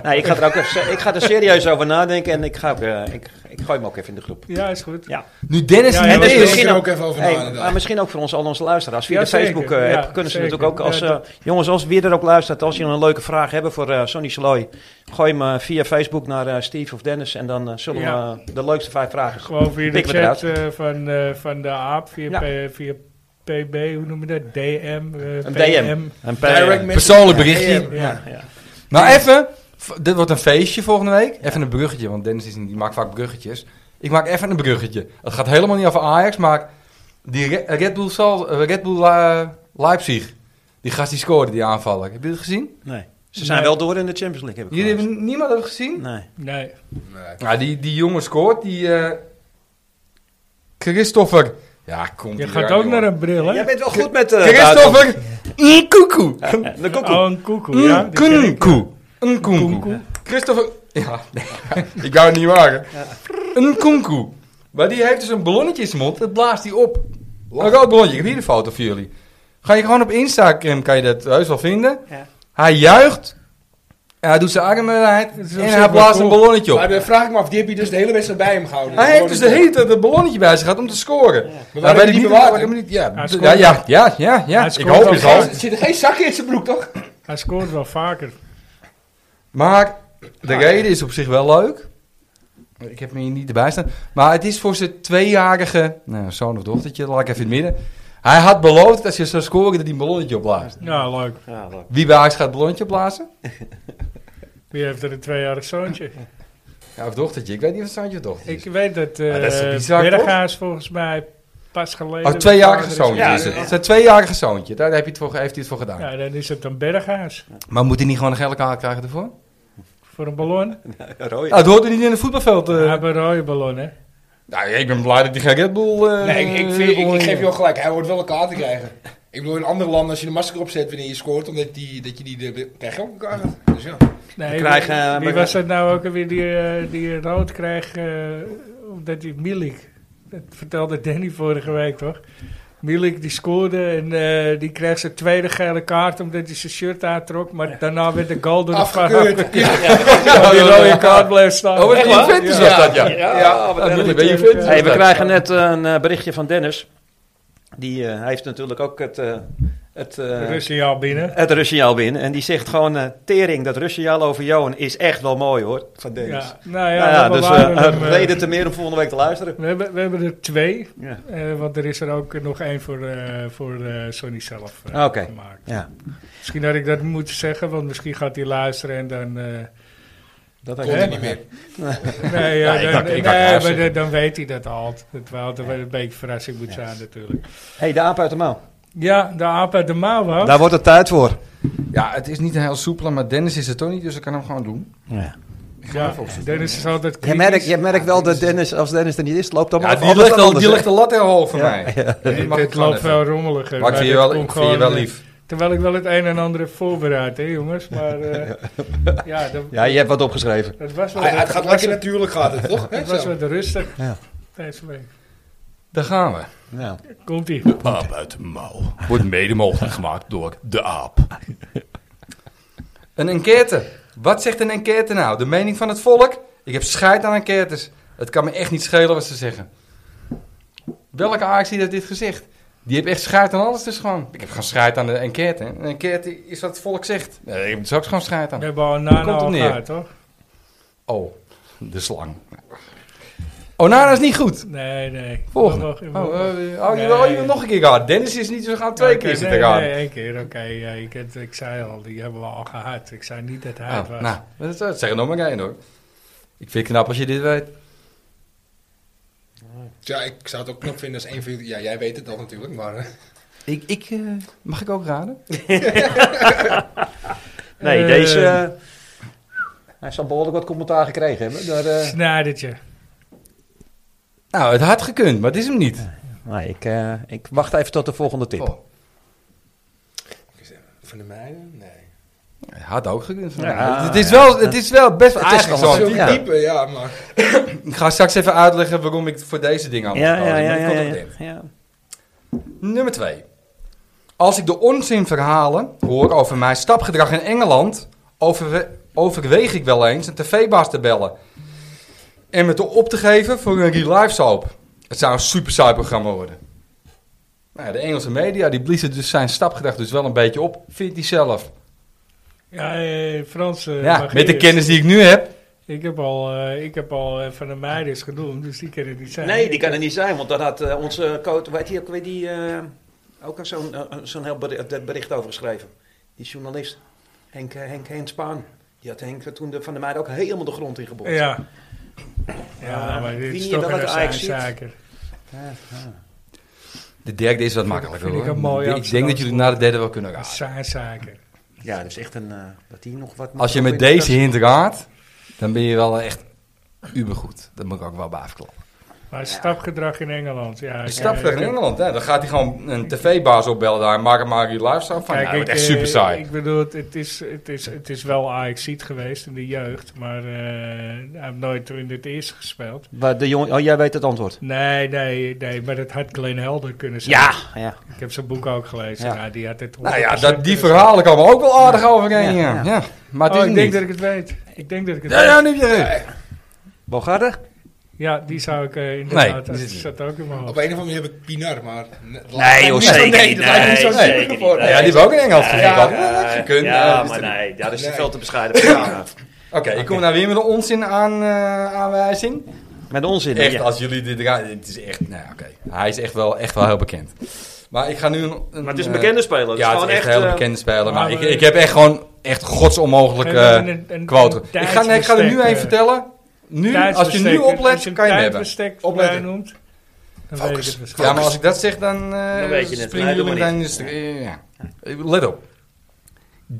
Nee, ik ga er ook even, ik ga er serieus over nadenken en ik, ga, ook, eh, ik, ik gooi hem ook even in de groep. Ja, is goed. Ja. Nu Dennis Ja, er ja, niet dat is. is Misschien ook even over Hey, na, inderdaad. maar misschien ook voor ons, al onze luisteraars. Via Ja, de zeker. Facebook eh, Ja, app kunnen ze zeker. natuurlijk ook. Als, Ja, eh, jongens, als wie er ook luistert, als je een leuke vraag hebben voor eh Sonny Saloy, gooi hem eh, via Facebook naar eh, Steve of Dennis en dan eh, zullen Ja. we eh, de leukste vijf vragen. Gewoon via de Pikken we chat eh, van, eh, van de aap, via, Ja. P- via PB, hoe noem je dat? DM? eh, Een DM. PM. Een Direct message. Persoonlijk berichtje. Ja, ja. Nou, even. v- Dit wordt een feestje volgende week. Even een bruggetje, want Dennis is niet, die maakt vaak bruggetjes. Ik maak even een bruggetje. Het gaat helemaal niet over Ajax, maar die Re- Red Bull, Sal- eh, Red Bull eh, Leipzig. Die gast die scoorde, die aanvaller. Heb je dat gezien? Nee. Ze zijn Nee. wel door in de Champions League. Heb ik Jullie gehoord. hebben niemand dat gezien? Nee. Nee. Nee. Nou, die, die jongen scoort, die eh, Christopher. Ja, komt Je gaat ook naar een bril, hè? Jij bent wel goed met... eh, Christopher Nkunku. buiten- De koekoek. Oh, een koekoe, ja. die ken ik. Nkunku. Nkunku. Christopher... Ja, ik wou het niet maken. Nkunku. Maar die heeft dus een ballonnetje in zijn mond. Dat blaast hij op. Een rood ballonnetje. Ik heb hier de foto voor jullie. Ga je gewoon op Instagram, kan je dat heus wel vinden. Ja. Hij juicht. en Hij doet zijn armen uit. is op En zich hij wel blaast een cool. ballonnetje op. Maar dan vraag ik me af, die heb je dus de hele wedstrijd bij hem gehouden. Hij heeft dus de Gewoon hele tijd dat ballonnetje bij zich gehad om te scoren. Nou, Maar waarom weet niet ik bewaard? waarom niet- Ja, Hij d- scoort ja, ja, wel. ja, ja, ja. Hij Ik scoort hoop wel het geen- al. Er zitten geen zakken in zijn broek, toch? Hij scoort wel vaker. Maar de reden is op zich wel leuk. Ik heb me hier niet erbij staan. Maar het is voor zijn tweejarige nou, zoon of dochtertje, laat ik even in het midden. Hij had beloofd dat als je zou scoren, dat hij een ballonnetje opblaast. Ja, leuk. Ja, leuk. Wie bij Ajax gaat het ballonnetje opblazen? Wie heeft er een tweejarig zoontje? Ja, of dochtertje. Ik weet niet of het zoontje of dochtertje Ik is. weet dat, eh Maar dat is toch bizar, Berghuis volgens mij pas geleden... Oh, tweejarige zoontje Ja, is het. ja. Het is een tweejarige zoontje. Daar heb je het voor, ge- heeft hij het voor gedaan. Ja, dan is het een Berghuis. Maar moet hij niet gewoon een gele kaart krijgen ervoor? Voor een ballon. Roy. Ja, het hoort er niet in het voetbalveld. eh. Hij heeft een rode ballon, hè? Nou, ik ben blij dat die geen Red Bull... eh, Nee, ik, ik, vind, ik, ballonnetje- ik geef je wel gelijk. Hij hoort wel een kaart te krijgen. Ik bedoel, in andere landen, als je de masker opzet wanneer je scoort, omdat die, dat je die... De, krijg je ook een kaart. Dus ja. Nee, We krijgen, wie- eh, wie we- was dat nou ook alweer die, eh, die rood kreeg eh, omdat hij Milik... Dat vertelde Danny vorige week, toch? Milik die scoorde en eh, die kreeg zijn tweede gele kaart omdat hij zijn shirt aantrok. Maar daarna werd de goal door de VAR Afgekeurd. Ja, Ja, die rode kaart bleef staan. Oh, wat Ja. een Juventus was dat, ja. Ja, wat Dat erg. jullie bij Juventus Hey, we was dat. krijgen net eh, een eh, berichtje van Dennis. Die eh, hij heeft natuurlijk ook het, eh het, eh, Russiaal binnen. het Russiaal binnen. En die zegt gewoon, eh, tering, dat Russiaal over Johan is echt wel mooi hoor. van Dennis. Ja. Nou ja, Nou ja, we dus bewaren eh, hem, eh, reden te meer om volgende week te luisteren. we, hebben, we hebben er twee. Ja. eh, want er is er ook nog één voor, eh, voor eh, Sonny zelf eh, Oké. gemaakt. Ja, Misschien had ik dat moeten zeggen, want misschien gaat hij luisteren en dan... eh, dat Komt er niet meer. Nee, ja, Ja, ik dan, dacht- ik nee, dacht juist maar zeggen. dan, dan weet hij dat al. Het wel altijd wel een beetje verrassing moet zijn natuurlijk. hey, de aap uit de mouw. Ja, de aap uit de mouw Daar wordt het tijd voor. Ja, het is niet een heel soepele, maar Dennis is het toch niet, dus ik kan hem gewoon doen. Ja. Ja, Dennis is altijd Je kritisch. merkt, je merkt wel dat Dennis, als Dennis er niet is, loopt dan Ja, maar die ligt, al, die ligt de lat heel hoog voor Ja. mij. Die Het- mag ik Het gewoon loopt even. wel rommeliger. Maar ik vind je dit wel, komt ik vind je wel gewoon, eh, lief. Terwijl ik wel het een en ander heb voorbereid, hè jongens. Maar eh, ja, dat, Ja, je hebt wat opgeschreven. dat was wel, Ah, ja, dat het gaat was, lekker natuurlijk, gaat het toch? Hè, het was zo. wel rustig Ja. deze week. Daar gaan we. Ja. Komt-ie. Aap uit de mouw. Wordt mede mogelijk gemaakt door de aap. Een enquête. Wat zegt een enquête nou? De mening van het volk? Ik heb scheid aan enquêtes. Het kan me echt niet schelen wat ze zeggen. Welke Ajax heeft dit gezegd? Die heeft echt scheid aan alles dus gewoon. Ik heb gewoon scheid aan de enquête. Een enquête is wat het volk zegt. Nee, ik heb er straks gewoon scheid aan. We hebben al een nano al Komt hem neer. gehad, toch? Oh, de slang. Onana is niet goed. Nee, nee. Volgende. Nog- nog- Oh, eh, oh, je- oh, Nee. je wil nog een keer gaan. Dennis is niet, dus we gaan twee Oké, keer zitten nee, gaan. Nee, één keer, oké. ja, ik, heb- ik zei al, die hebben we al gehad. Ik zei niet dat hij het Ah, was. nou, dat, dat zeg er nog maar één hoor. Ik vind het knap als je dit weet. Ja, ik zou het ook knap vinden als één van jullie... Ja, jij weet het al natuurlijk, maar... eh, Ik, ik, eh, mag ik ook raden? Nee, Eh, deze... eh, hij zal behoorlijk wat commentaar gekregen hebben. Daar, eh, Snijdertje. Nou, het had gekund, maar het is hem niet. nee, ik, eh, ik wacht even tot de volgende tip. Oh. Van de mijnen? Nee. Het had ook gekund. van Ja. mij. het, is wel, het is wel best wel Het is aardig gewoon zo. Zo ja. diepe, ja, maar... Ik ga straks even uitleggen waarom ik voor deze dingen aan oh, moet komen, maar dat komt ook niet. Nummer 2. Als ik de onzinverhalen hoor over mijn stapgedrag in Engeland, overwe- overweeg ik wel eens een tv-baas te bellen. En me te op te geven voor een real life soap. Het zou een super saai programma worden. Nou, ja, de Engelse media die bliezen dus zijn stapgedrag dus wel een beetje op, vindt hij zelf. Ja, eh, Frans. eh, ja, mag met de eerst. kennis die ik nu heb. Ik heb al, eh, ik heb al eh, van de meiden is genoemd, dus die kan het niet zijn. Nee, die kan er niet zijn, want daar had eh, onze coach, weet je ook weer die, eh, ook al zo'n eh, zo'n heel bericht, dat bericht over geschreven. Die journalist, Henk, eh, Henk, Henk Spaan. Die had Henk toen de, van de meiden ook helemaal de grond in geboord. Ja. Ja, maar dit wie is je toch wel een het zijn Ajax ziet. zaker. De derde is wat makkelijker vind ik hoor. een mooie ik denk dat jullie naar de derde wel kunnen Een raden. Zijn zaker. Ja, dat is echt een, eh, dat die nog wat... Als je met deze hint raadt, dan ben je wel echt ubergoed. Dat moet ik ook wel bij afklappen. Maar stapgedrag in Engeland. Ja, ik, Een stap eh, terug in Engeland, hè? dan gaat hij gewoon een tv-baas opbellen daar. Maak hem maar live staan van. Kijk, ja, Oh, nou, dat wordt ik, echt eh, super saai. Ik bedoel, het, het is, het, is, het is wel ajax geweest in de jeugd, maar eh, hij heeft nooit in het eerste gespeeld. Maar de jongen, oh, jij weet het antwoord. Nee, nee, nee, maar dat had Glenn Helder kunnen zijn. Ja, ja. Ik heb zijn boek ook gelezen. Ja. Ja. die had het nou ja, 100% dat, die kunnen verhalen komen ook wel aardig overheen. Ja, ja. Ja, ja. Maar het Oh, is ik hem denk niet. dat ik het weet. Ik denk dat ik het Ja, weet. ja, nu heb je recht. Bogarde? Ja, die zou ik eh, inderdaad... die dat zit niet. zat ook in mijn Op hoofd. een of andere manier heb ik Pinar, maar... Nee, joh, zeker Nee, niet. dat lijkt niet zo Nee, nee, zeker voor. Nou ja, die hebben ook in Engels gezien. Ja, dat had gekund, ja, eh, dus maar dat- nee, ja, dat is Nee. veel te bescheiden. Ja. Oké, ik kom nou weer met een onzin aan, eh, aanwijzing. Met onzin, hè, Echt, ja. als jullie dit ra- Het is echt... Nou, oké. Hij is echt wel, echt wel heel bekend. Maar ik ga nu een... een Maar het is een eh, bekende speler. dus Ja, het gewoon is echt een echt, hele eh, bekende speler. Maar maar ik, we- ik heb echt gewoon echt godsonmogelijk We hebben eh, een- een- quote. een ik, ga, nee, ik ga er nu tijdsbestek, even eh, vertellen. Nu, als je nu Tijdsbestek, oplet, als je kan je hem hebben. tijdsbestek Opletten. erbij noemt, dan weet ik Focus. het Ja, waarschijnlijk. maar als ik dat zeg, dan, eh Dan weet je het. springen Nee, doe jullie maar dan... is het- eh, ja. Eh, Let op.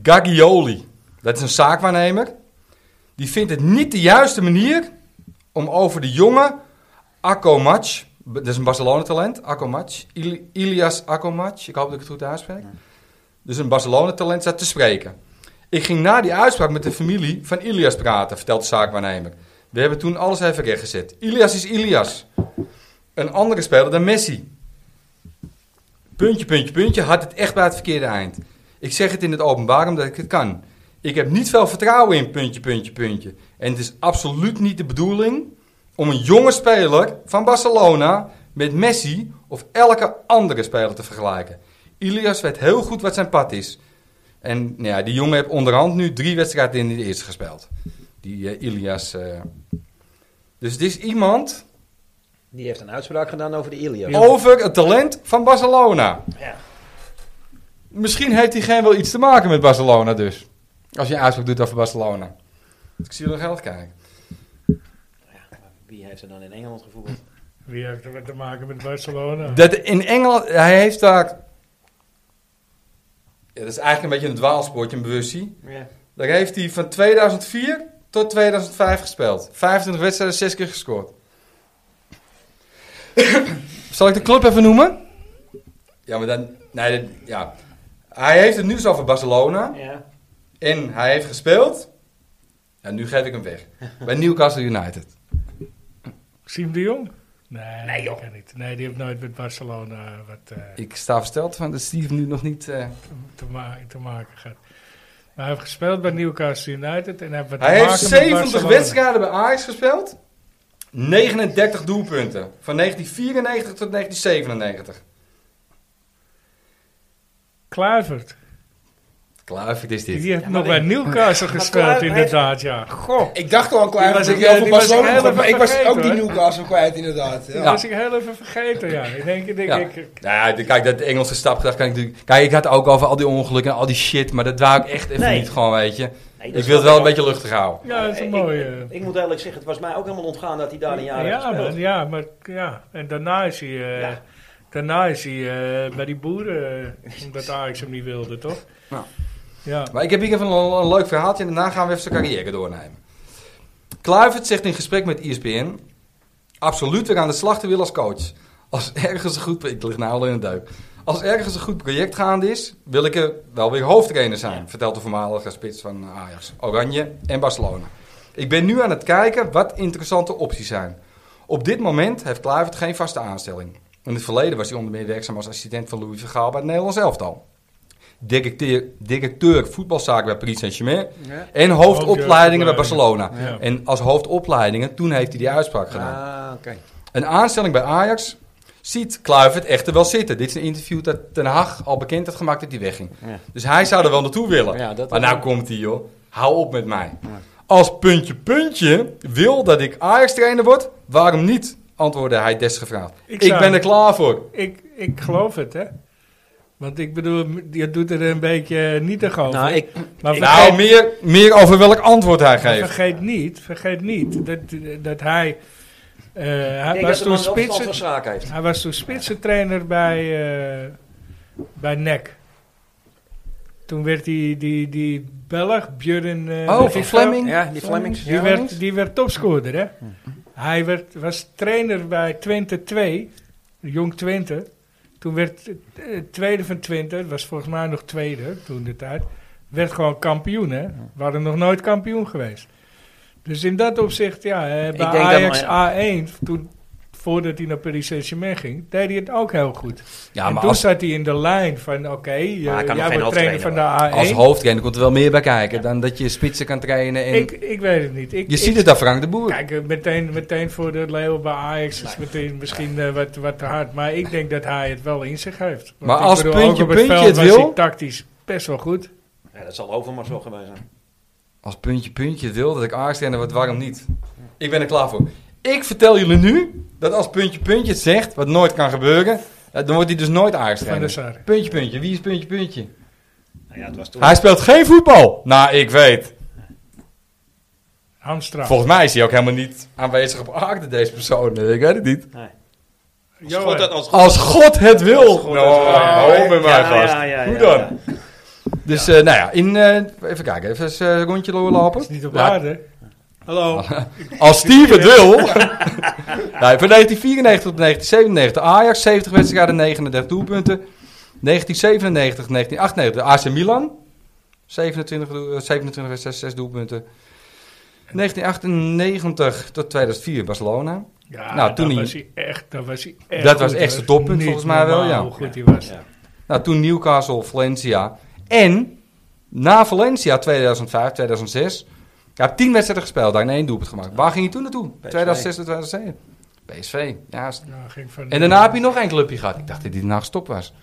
Gagioli. Dat is een zaakwaarnemer. Die vindt het niet de juiste manier om over de jonge Akomac... Dat is een Barcelona-talent. Akomac. Ili- Ilias Akomac. Ik hoop dat ik het goed uitspreek. Dus een Barcelona-talent staat te spreken. Ik ging na die uitspraak met de familie van Ilias praten, vertelt de zaakwaarnemer. We hebben toen alles even rechtgezet. Ilias is Ilias. Een andere speler dan Messi. Puntje, puntje, puntje. Had het echt bij het verkeerde eind. Ik zeg het in het openbaar omdat ik het kan. Ik heb niet veel vertrouwen in puntje, puntje, puntje. En het is absoluut niet de bedoeling om een jonge speler van Barcelona met Messi of elke andere speler te vergelijken. Ilias weet heel goed wat zijn pad is. En nou ja, die jongen heeft onderhand nu drie wedstrijden in de eerste gespeeld. Die eh, Ilias. eh. Dus het is iemand Die heeft een uitspraak gedaan over de Ilias. Oh. over het talent van Barcelona. Ja. Misschien heeft hij geen wel iets te maken met Barcelona dus. Als je een uitspraak doet over Barcelona. Ik zie er geld kijken. Wie heeft er dan in Engeland gevoerd? Wie heeft er wat te maken met Barcelona? Dat in Engeland, hij heeft daar... Ja, dat is eigenlijk een beetje een dwaalspoortje, een bewustzijn. Ja. Daar heeft hij van 2004 tot 2005 gespeeld. 25 wedstrijden, 6 keer gescoord. Zal ik de club even noemen? Ja, maar dan... Nee, dat- ja. Hij heeft het nu zo over Barcelona. ja. En hij heeft gespeeld... En nu geef ik hem weg. Bij Newcastle United. Siem de Jong? Nee, nee joh. Niet. Nee, die heeft nooit met Barcelona wat eh, Ik sta versteld van dat Steve nu nog niet... eh, te, ma- te maken gehad. Maar hij heeft gespeeld bij Newcastle United en hij heeft wat Hij te heeft maken met 70 Barcelona. wedstrijden bij Ajax gespeeld. 39 doelpunten. Van 1994 tot 1997. Kluivert. Kluivert is dit. Die heeft nog bij Newcastle gespeeld, Kluivert- inderdaad, ja. Goh. Ik dacht al aan Die was Kluivert, dat ik- eh, ik heel die was ik veel Barcelona helemaal had, maar ik was vergeten, ook die hoor. Newcastle kwijt inderdaad. Ja. Dat was ik heel even vergeten, ja. In één keer denk Ja. ik... Nou ja, de- kijk, dat Engelse stap kan ik natuurlijk... Kijk, ik had ook over al die ongelukken en al die shit, maar dat wou ik echt even Nee. niet gewoon, weet je. Nee, dat Ik is wil het wel een beetje luchtig houden. Ja, dat is een Ik- mooie... Ik moet eerlijk zeggen, het was mij ook helemaal ontgaan dat hij daar een jaar heeft Ja, gespeeld. man, ja, maar ja. En daarna is hij, eh, Ja. daarna is hij eh, bij die boeren, eh, omdat Ajax hem niet wilde, toch? Ja. Ja. Maar ik heb hier even een, een leuk verhaaltje en daarna gaan we even zijn carrière doornemen. Kluivert zegt in gesprek met E ESPN... Absoluut weer aan de slag te willen als coach. Als ergens een goed... Ik lig nou al in een duik. Als ergens een goed project gaande is... wil ik er wel weer hoofdtrainer zijn... vertelt de voormalige spits van Ajax, Oranje en Barcelona. Ik ben nu aan het kijken wat interessante opties zijn. Op dit moment heeft Kluivert geen vaste aanstelling. In het verleden was hij onder meer werkzaam als assistent van Louis Vergaal bij het Nederlands elftal directeur, directeur voetbalzaken bij Paris Saint-Germain. En hoofdopleidingen bij Barcelona. Ja. En als hoofdopleidingen, toen heeft hij die uitspraak gedaan. Ah, oké. Een aanstelling bij Ajax ziet Kluivert echter wel zitten. Dit is een interview dat Ten Hag al bekend had gemaakt dat hij wegging. Ja. Dus hij zou er wel naartoe willen. Ja, dat maar wel. nou komt hij, joh. Hou op met mij. Als puntje puntje wil dat ik Ajax-trainer word, waarom niet? Antwoordde hij desgevraagd. Ik, Ik zou- ben er klaar voor. Ik, ik geloof het, hè. Want ik bedoel, je doet er een beetje nietig over. Nou, ik, maar Nou, meer, meer over welk antwoord hij Maar geeft. Vergeet niet, vergeet niet dat, dat hij. eh, hij, was Ik denk toen dat hij een van spitsen, zaken heeft. hij was toen spitsentrainer bij, eh, bij NEC. Toen werd die, die, die Belg, Björn... eh, Oh, van Vergeel- Fleming? ja, die Flemings. Die, werd, die werd topscorer, hè? Hij werd, was trainer bij Twente 2, jong Twente. Toen werd eh, tweede van Twente, was volgens mij nog tweede toen de tijd, werd gewoon kampioen, hè? Waren nog nooit kampioen geweest. Dus in dat opzicht, ja, eh, bij denk dat Ajax maar- A1, toen, voordat hij naar Paris Saint-Germain ging, deed hij het ook heel goed. Ja, en maar toen als, zat hij in de lijn van, oké, eh, nog geen jij wordt trainer hoofdtrainer van de A1. als hoofdtrainer komt er wel meer bij kijken dan dat je spitsen kan trainen. En ik, ik weet het niet. Ik, je ik- ziet het aan Frank de Boer. Kijk, eh, meteen, meteen voor de leeuw bij Ajax is meteen misschien eh, wat, wat te hard. Maar ik denk dat hij het wel in zich heeft. Want Maar ik als ook puntje, op puntje veld het was wil- hij tactisch best wel goed. Ja, dat zal over maar zo geweest zijn. Als puntje puntje wil dat ik Ajax trainer word, waarom niet? Ik ben er klaar voor. Ik vertel jullie nu dat als puntje puntje het zegt, wat nooit kan gebeuren, eh, dan wordt hij dus nooit Ajax Van de trainer. Sar. Puntje puntje, wie is puntje puntje? Nou ja, het was toen... Hij speelt geen voetbal. Nou, ik weet. Hamstra. Volgens mij is hij ook helemaal niet aanwezig op aarde, deze persoon. Ik weet het niet. Nee. Johan. God dat als Als God het wil. God Nou, het wil. hou met mij Ja, vast. ja, ja, Hoe ja, dan? ja. Dus eh, nou ja, in, eh, even kijken, even eens, eh, een rondje lopen. is niet op Ja, aarde. Hallo. als Steve het wil. Nee, van 1994 tot 1997 Ajax, 70 wedstrijden, 39 doelpunten. 1997, 1998 AC Milan, 27, doel- eh, 27 wedstrijden, 6 doelpunten. 1998 tot 2004 Barcelona. Ja, Nou, toen dat hij- was hij echt. Dat was, hij echt Dat was goed, echt hoor. zijn toppunt, Niet volgens mij wel, normaal ja. Hoe goed hij was. Ja. Nou, toen Newcastle, Valencia. En na Valencia 2005, 2006. Hij heeft tien wedstrijden gespeeld, daar in één doelpunt gemaakt. Waar ging hij toen naartoe? 2006 tot 2007. PSV. Ja, is- Nou, ging van, en daarna heb je nog één clubje gehad. Ik dacht dat hij daarna gestopt was.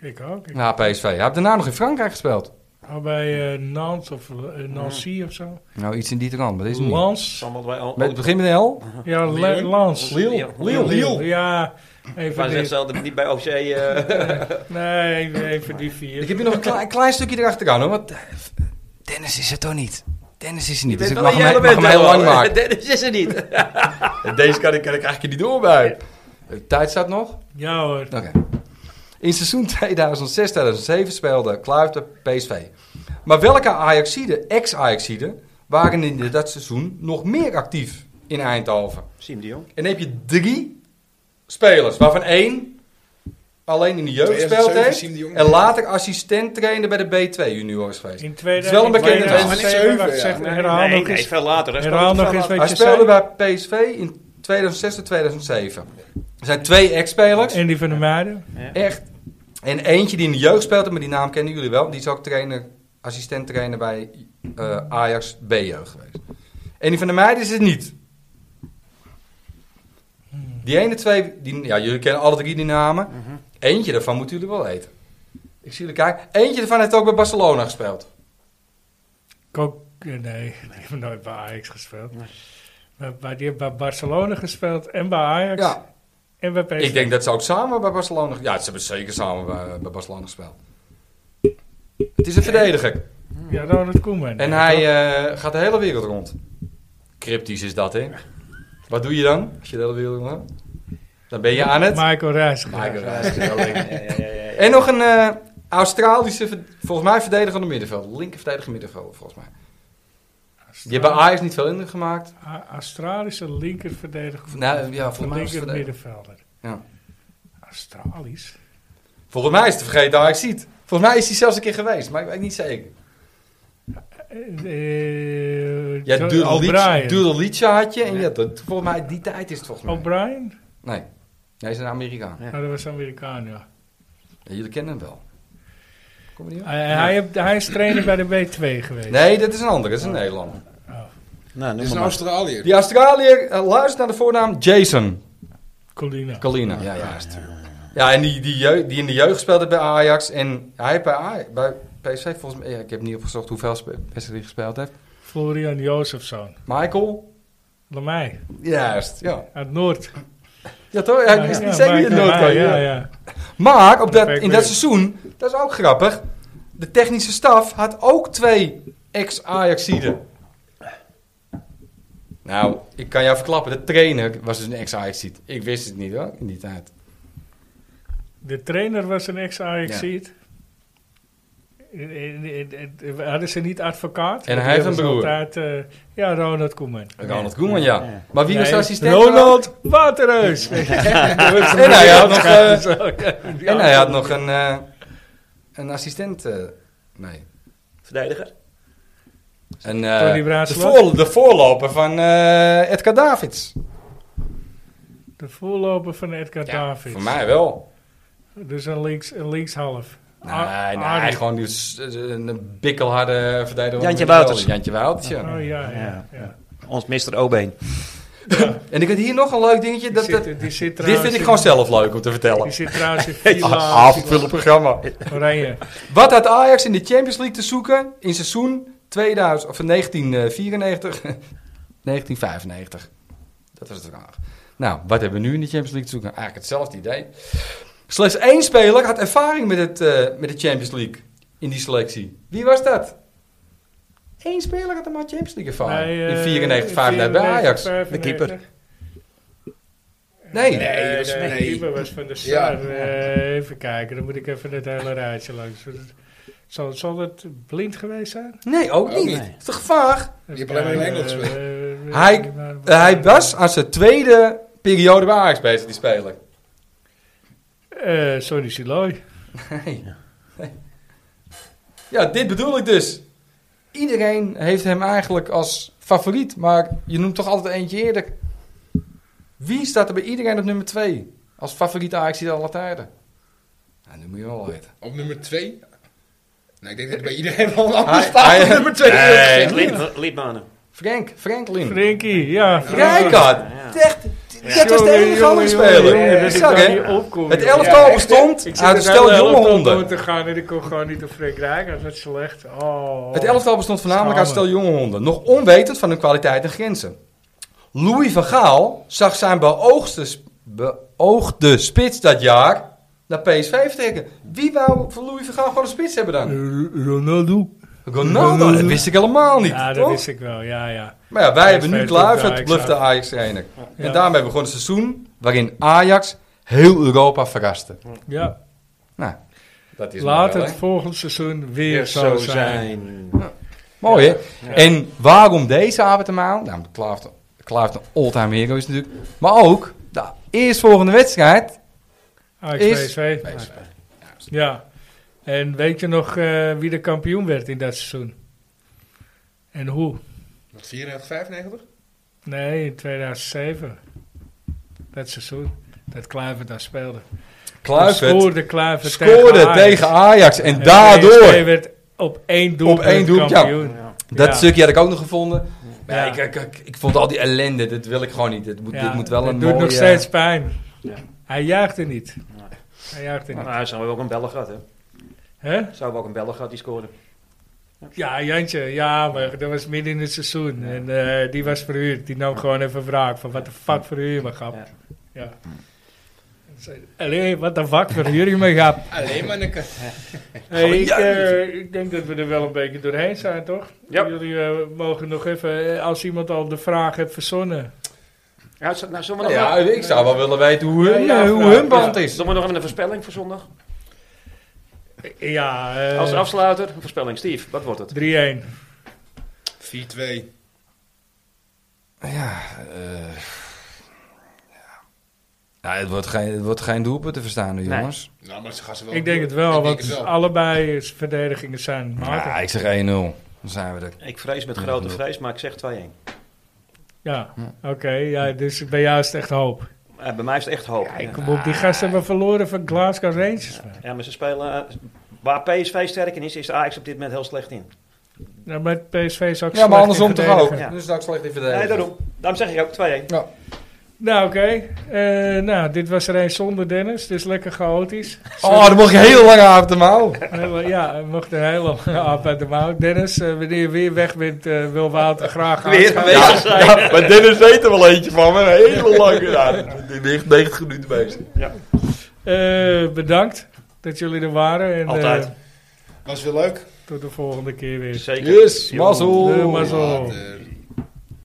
Ik ook. Ik Na PSV. Hij heeft daarna nog in Frankrijk gespeeld. had bij eh Nantes of eh, Nancy of zo. Nou, iets in die trant, maar dat is hem niet. Lans. Allemaal bij al- Met, het begin met een L. Ja, Le- Lille. Lans. Lille. Lille. Lille. Ja, Ik was even echt die, zelden niet bij OC. eh, nee, even- even die vier. Ik heb hier nog een klein, klein stukje erachteraan hoor. Want eh, Dennis is het toch niet? Dennis is er niet. Dus ik Dit mag wel een hem, hele mag hem band, heel hoor. lang maken. Dennis is er niet. Deze kan ik, kan ik eigenlijk niet door bij. Eh, Tijd staat nog? Ja hoor. Oké. In seizoen 2006-2007 speelde Kluivert PSV. Maar welke Ajaxiden, ex-Ajaxiden, waren in dat seizoen nog meer actief in Eindhoven? Siem de Jong. En dan heb je drie spelers, waarvan één alleen in de jeugd gespeeld 2007 heeft. Siem de Jong. En later assistent trainer bij de B2 juniors geweest. In 2000. wel een bekende maar in naam. 2007, Ja. wacht, zeg, Nee, herhaal nee, nog nee, eens. veel later. hè. Herhaal Speelde nog veel eens, later. weet Hij je, speelde zei- bij PSV in 2006 tot 2007. Er zijn twee ex-spelers. En die van de meiden. Echt. En eentje die in de jeugd speelde, maar die naam kennen jullie wel. Die is ook trainer, assistent trainer bij eh, Ajax B-jeugd geweest. En die van de meiden is het niet. Die ene twee, die, ja, jullie kennen alle drie die namen. Eentje daarvan moeten jullie wel eten. Ik zie jullie kijken. Eentje daarvan heeft ook bij Barcelona gespeeld. Kok, nee, nee, die hebben nooit bij Ajax gespeeld. Maar, maar die hebben bij Barcelona gespeeld en bij Ajax Ja, en bij PSV. ik denk dat ze ook samen bij Barcelona... Ja, ze hebben zeker samen eh, bij, bij Barcelona gespeeld. Het is een verdediger. Ja, Ronald Koeman. En hij eh, gaat de hele wereld rond. Cryptisch is dat, hè? Wat doe je dan als je de hele wereld rond gaat? Dan ben je aan het... Michael Reiziger. Michael Rice, heel leuk. Ja, ja, ja, ja. En nog een eh, Australische, verd- volgens mij verdedigende middenveld. Linker verdediger middenveld, volgens mij. Die hebben bij Ajax niet veel indruk gemaakt. A- Australische linkerverdediger. Nou, ja, volgens mij was het linker verdediger. middenvelder. Ja. Australisch? Volgens mij is het vergeten Ajax ziet. Volgens mij is hij zelfs een keer geweest, maar ik weet niet zeker. Eh, Ja, Jo- Duralitja O'Brien. Duralitja had je. En ja, dat, volgens mij, die tijd is het volgens mij. O'Brien? Nee, hij is een Amerikaan. Nou, dat was Amerikaan, ja. Ja, jullie kennen hem wel. Kom maar niet op. Hij, hij, heeft- hij is trainer bij de B2 geweest. Nee, dat is een ander. Dat is een Nederlander. Nou, Dit noem is een maar maar. Australiër. Die Australiër eh, luistert naar de voornaam Jason Colina. Kalina. Ja, juist. Ja, en die, die, jeugd- die in de jeugd speelde bij Ajax. En hij heeft bij, Aj- bij PSV volgens mij... ja, ik heb niet opgezocht hoeveel spe- wedstrijden hij gespeeld heeft. Florian Jozefsson. Michael? Lamai. Juist, ja. Uit Noord. Ja, toch? Hij is niet zeker niet in nood. Ja, ja, ja. Maar op dat, Perfect in dat weer. seizoen, dat is ook grappig. De technische staf had ook twee ex-Ajaxiden. Nou, ik kan jou verklappen, de trainer was dus een ex-Ajaxiet. Ik wist het niet hoor, in die tijd. De trainer was een ex-Ajax. Ja. Hadden ze niet advocaat? En Die hij heeft een was broer. altijd, eh, ja, Ronald Koeman. Ronald Koeman, ja. Maar wie was de Nee, assistent? Ronald Waterreus. En hij had nog, eh, en hij had nog een, eh, een assistent. eh, nee. Verdediger. Een, eh, Tony de, Braasland? voor, de voorloper van eh Edgar Davids. De voorloper van Edgar Davids. Voor mij wel. Dus een, links, een linkshalf. Ar- Nee, nee, Arie. gewoon die, s- een bikkelharde verdediger. Jantje Wouters. Jantje Wouters, ja. Oh ja, ja. ja. Ja, Ons Mr. Obeen. En ik had hier nog een leuk dingetje. Die Dat, zit- dat- die zit dit trouwens vind ik in- gewoon zelf leuk om te Die vertellen. Ah, zit trouwens in Villa Aanvullend programma. Oranje. Wat had Ajax in de Champions League te zoeken in seizoen 2000, of eh, 1994, 1995? Dat was de vraag. Nou, wat hebben we nu in de Champions League te zoeken? Eigenlijk hetzelfde idee. Slechts één speler had ervaring met, het, eh, met de Champions League in die selectie. Wie was dat? Eén speler had er maar Champions League ervaring. Bij, eh, in 94, 95 bij Ajax. 94. De keeper. Nee. Nee, Nee, dat de is- nee. keeper was van de Sar. Eh, even kijken, dan moet ik even het hele rijtje langs. Zal, zal het blind geweest zijn? Eh, Nee, ook niet. niet. Dat is toch vaag? Die hebt alleen maar in Engeland gespeeld. Hij- eh, eh, hij was aan zijn tweede periode bij Ajax bezig, die speler. Eh sorry, Siloy. Nee. Nee. Ja, dit bedoel ik dus. Iedereen heeft hem eigenlijk als favoriet, maar je noemt toch altijd eentje eerder. Wie staat er bij iedereen op nummer 2? Als favoriete Ajax die alle tijden. Nou, nu moet je wel weten. Op nummer 2? Nou, ik denk dat bij iedereen wel een ander Hij- staat op hij- nummer 2. Nee. Lied- Liedmanen. Frank, Franklin. Frenkie, ja. Kijk dat. Ja. Echt, Dat was de Jongen, enige andere jongen, jongen, speler. jongen, dat ik Zak, daar hè? niet opkom, Het joh. elftal echt, hè? bestond Ik zit uit een het hele stel jonge elftal door honden. te gaan en ik kon gewoon niet op Frank Rijkaard. Dat is slecht. Oh. Het elftal bestond voornamelijk uit stel Schade. jonge honden. Nog onwetend van hun kwaliteit en grenzen. Louis van Gaal zag zijn beoogste, sp- beoogde spits dat jaar naar PSV vertrekken. Wie wou voor Louis van Gaal gewoon een spits hebben dan? Eh, Ronaldo. Ronaldo, dat wist ik helemaal niet. Ja, dat toch? wist ik wel. Ja, ja. Maar ja, wij PSV hebben nu doet de Kluivert, Ajax blufte uit. Ajax-trainer. Ja. En daarmee begon een seizoen waarin Ajax heel Europa verraste. ja. Nou, dat is Laat maar wel, het hè? volgend seizoen weer zo zijn. Mooi, hè? En waarom deze avondmaal? Nou, Kluivert, Kluivert een all-time hero is natuurlijk. Maar ook, de eerstvolgende wedstrijd. Ajax Is- PSV. Ja. En weet je nog eh, wie de kampioen werd in dat seizoen? En hoe? 94, 95? Nee, in 2007. Dat seizoen. Dat Kluivert daar speelde. Toen Kluivert scoorde Kluivert scoorde Ajax. tegen Ajax. En En PSV daardoor, werd op één doelpunt Op één doelpunt, ja. kampioen. dat Ja. stukje had ik ook nog gevonden. Maar ja, Ja. ik, ik, ik, ik vond al die ellende, dat wil ik gewoon niet. Dit moet, Ja, dit moet wel het een eh, doet mooie... nog steeds pijn. Ja. Hij juichte niet. Hij juichte niet. Nou, zo hebben we ook een bellen gehad, hè? Hè? Zo hebben we ook een bellen gehad die scoorde. Ja, Jantje, ja, maar dat was midden in het seizoen. En eh, die was verhuurd. Die nam gewoon even wraak van wat de fuck verhuur je me, grap. Ja. Ja. En zei, Allee, wat de fuck verhuur je me, grap. Alleen maar een Hey, ik, eh, ik denk dat we er wel een beetje doorheen zijn, toch? Ja. Jullie eh, mogen nog even, eh, als iemand al de vraag heeft verzonnen. Ja, zo- nou, zullen we Nou nog, ja, ik zou wel willen weten hoe hun, Ja, ja, hoe vraag. hun band is. zullen we nog even een voorspelling voor zondag? Ja, eh, Als afsluiter, een voorspelling. Steve, wat wordt het? 3-1. 4-2. Ja, eh, ja. Nou, het, wordt geen, het wordt geen doelpunt te verstaan nu, Nee. jongens. Nou, maar ze gaan ze wel. Ik denk het wel, Ik denk want het wel. allebei is- verdedigingen zijn maken. Ja, ik zeg 1-0. Dan zijn we er. Ik vrees met grote vrees, maar ik zeg 2-1. Ja, oké. ja, dus bij jou is het echt hoop. Eh, bij mij is het echt hoop. Ja, Kom op, die gasten hebben verloren van Glasgow Rangers. man. Ja, maar ze spelen... eh, waar PSV sterk in is, is Ajax op dit moment heel slecht in. Ja, maar het PSV is ook Ja, slecht maar in andersom toch ook. verdedigen. Ja. Dus dat is slecht in Nee, verdedigen. daarom. Daarom zeg ik ook 2-1. Nou, oké. Eh, nou, dit was er een zonder Dennis, dus lekker chaotisch. Oh, dan mocht je heel lang avond de mouw. Heel- ja, hij mocht een hele lange af uit de mouw. Dennis, eh, wanneer je weer weg bent, eh, wil Wouter graag aan. Ja, ja, maar Dennis weet er wel eentje van me. Een hele lange avond. Die ligt 90 minuten bezig. Eh, bedankt dat jullie er waren. En, eh, Altijd. Was weer leuk. tot de volgende keer weer. Zeker. Yes, Yo. mazzel. Eh, mazzel. Later.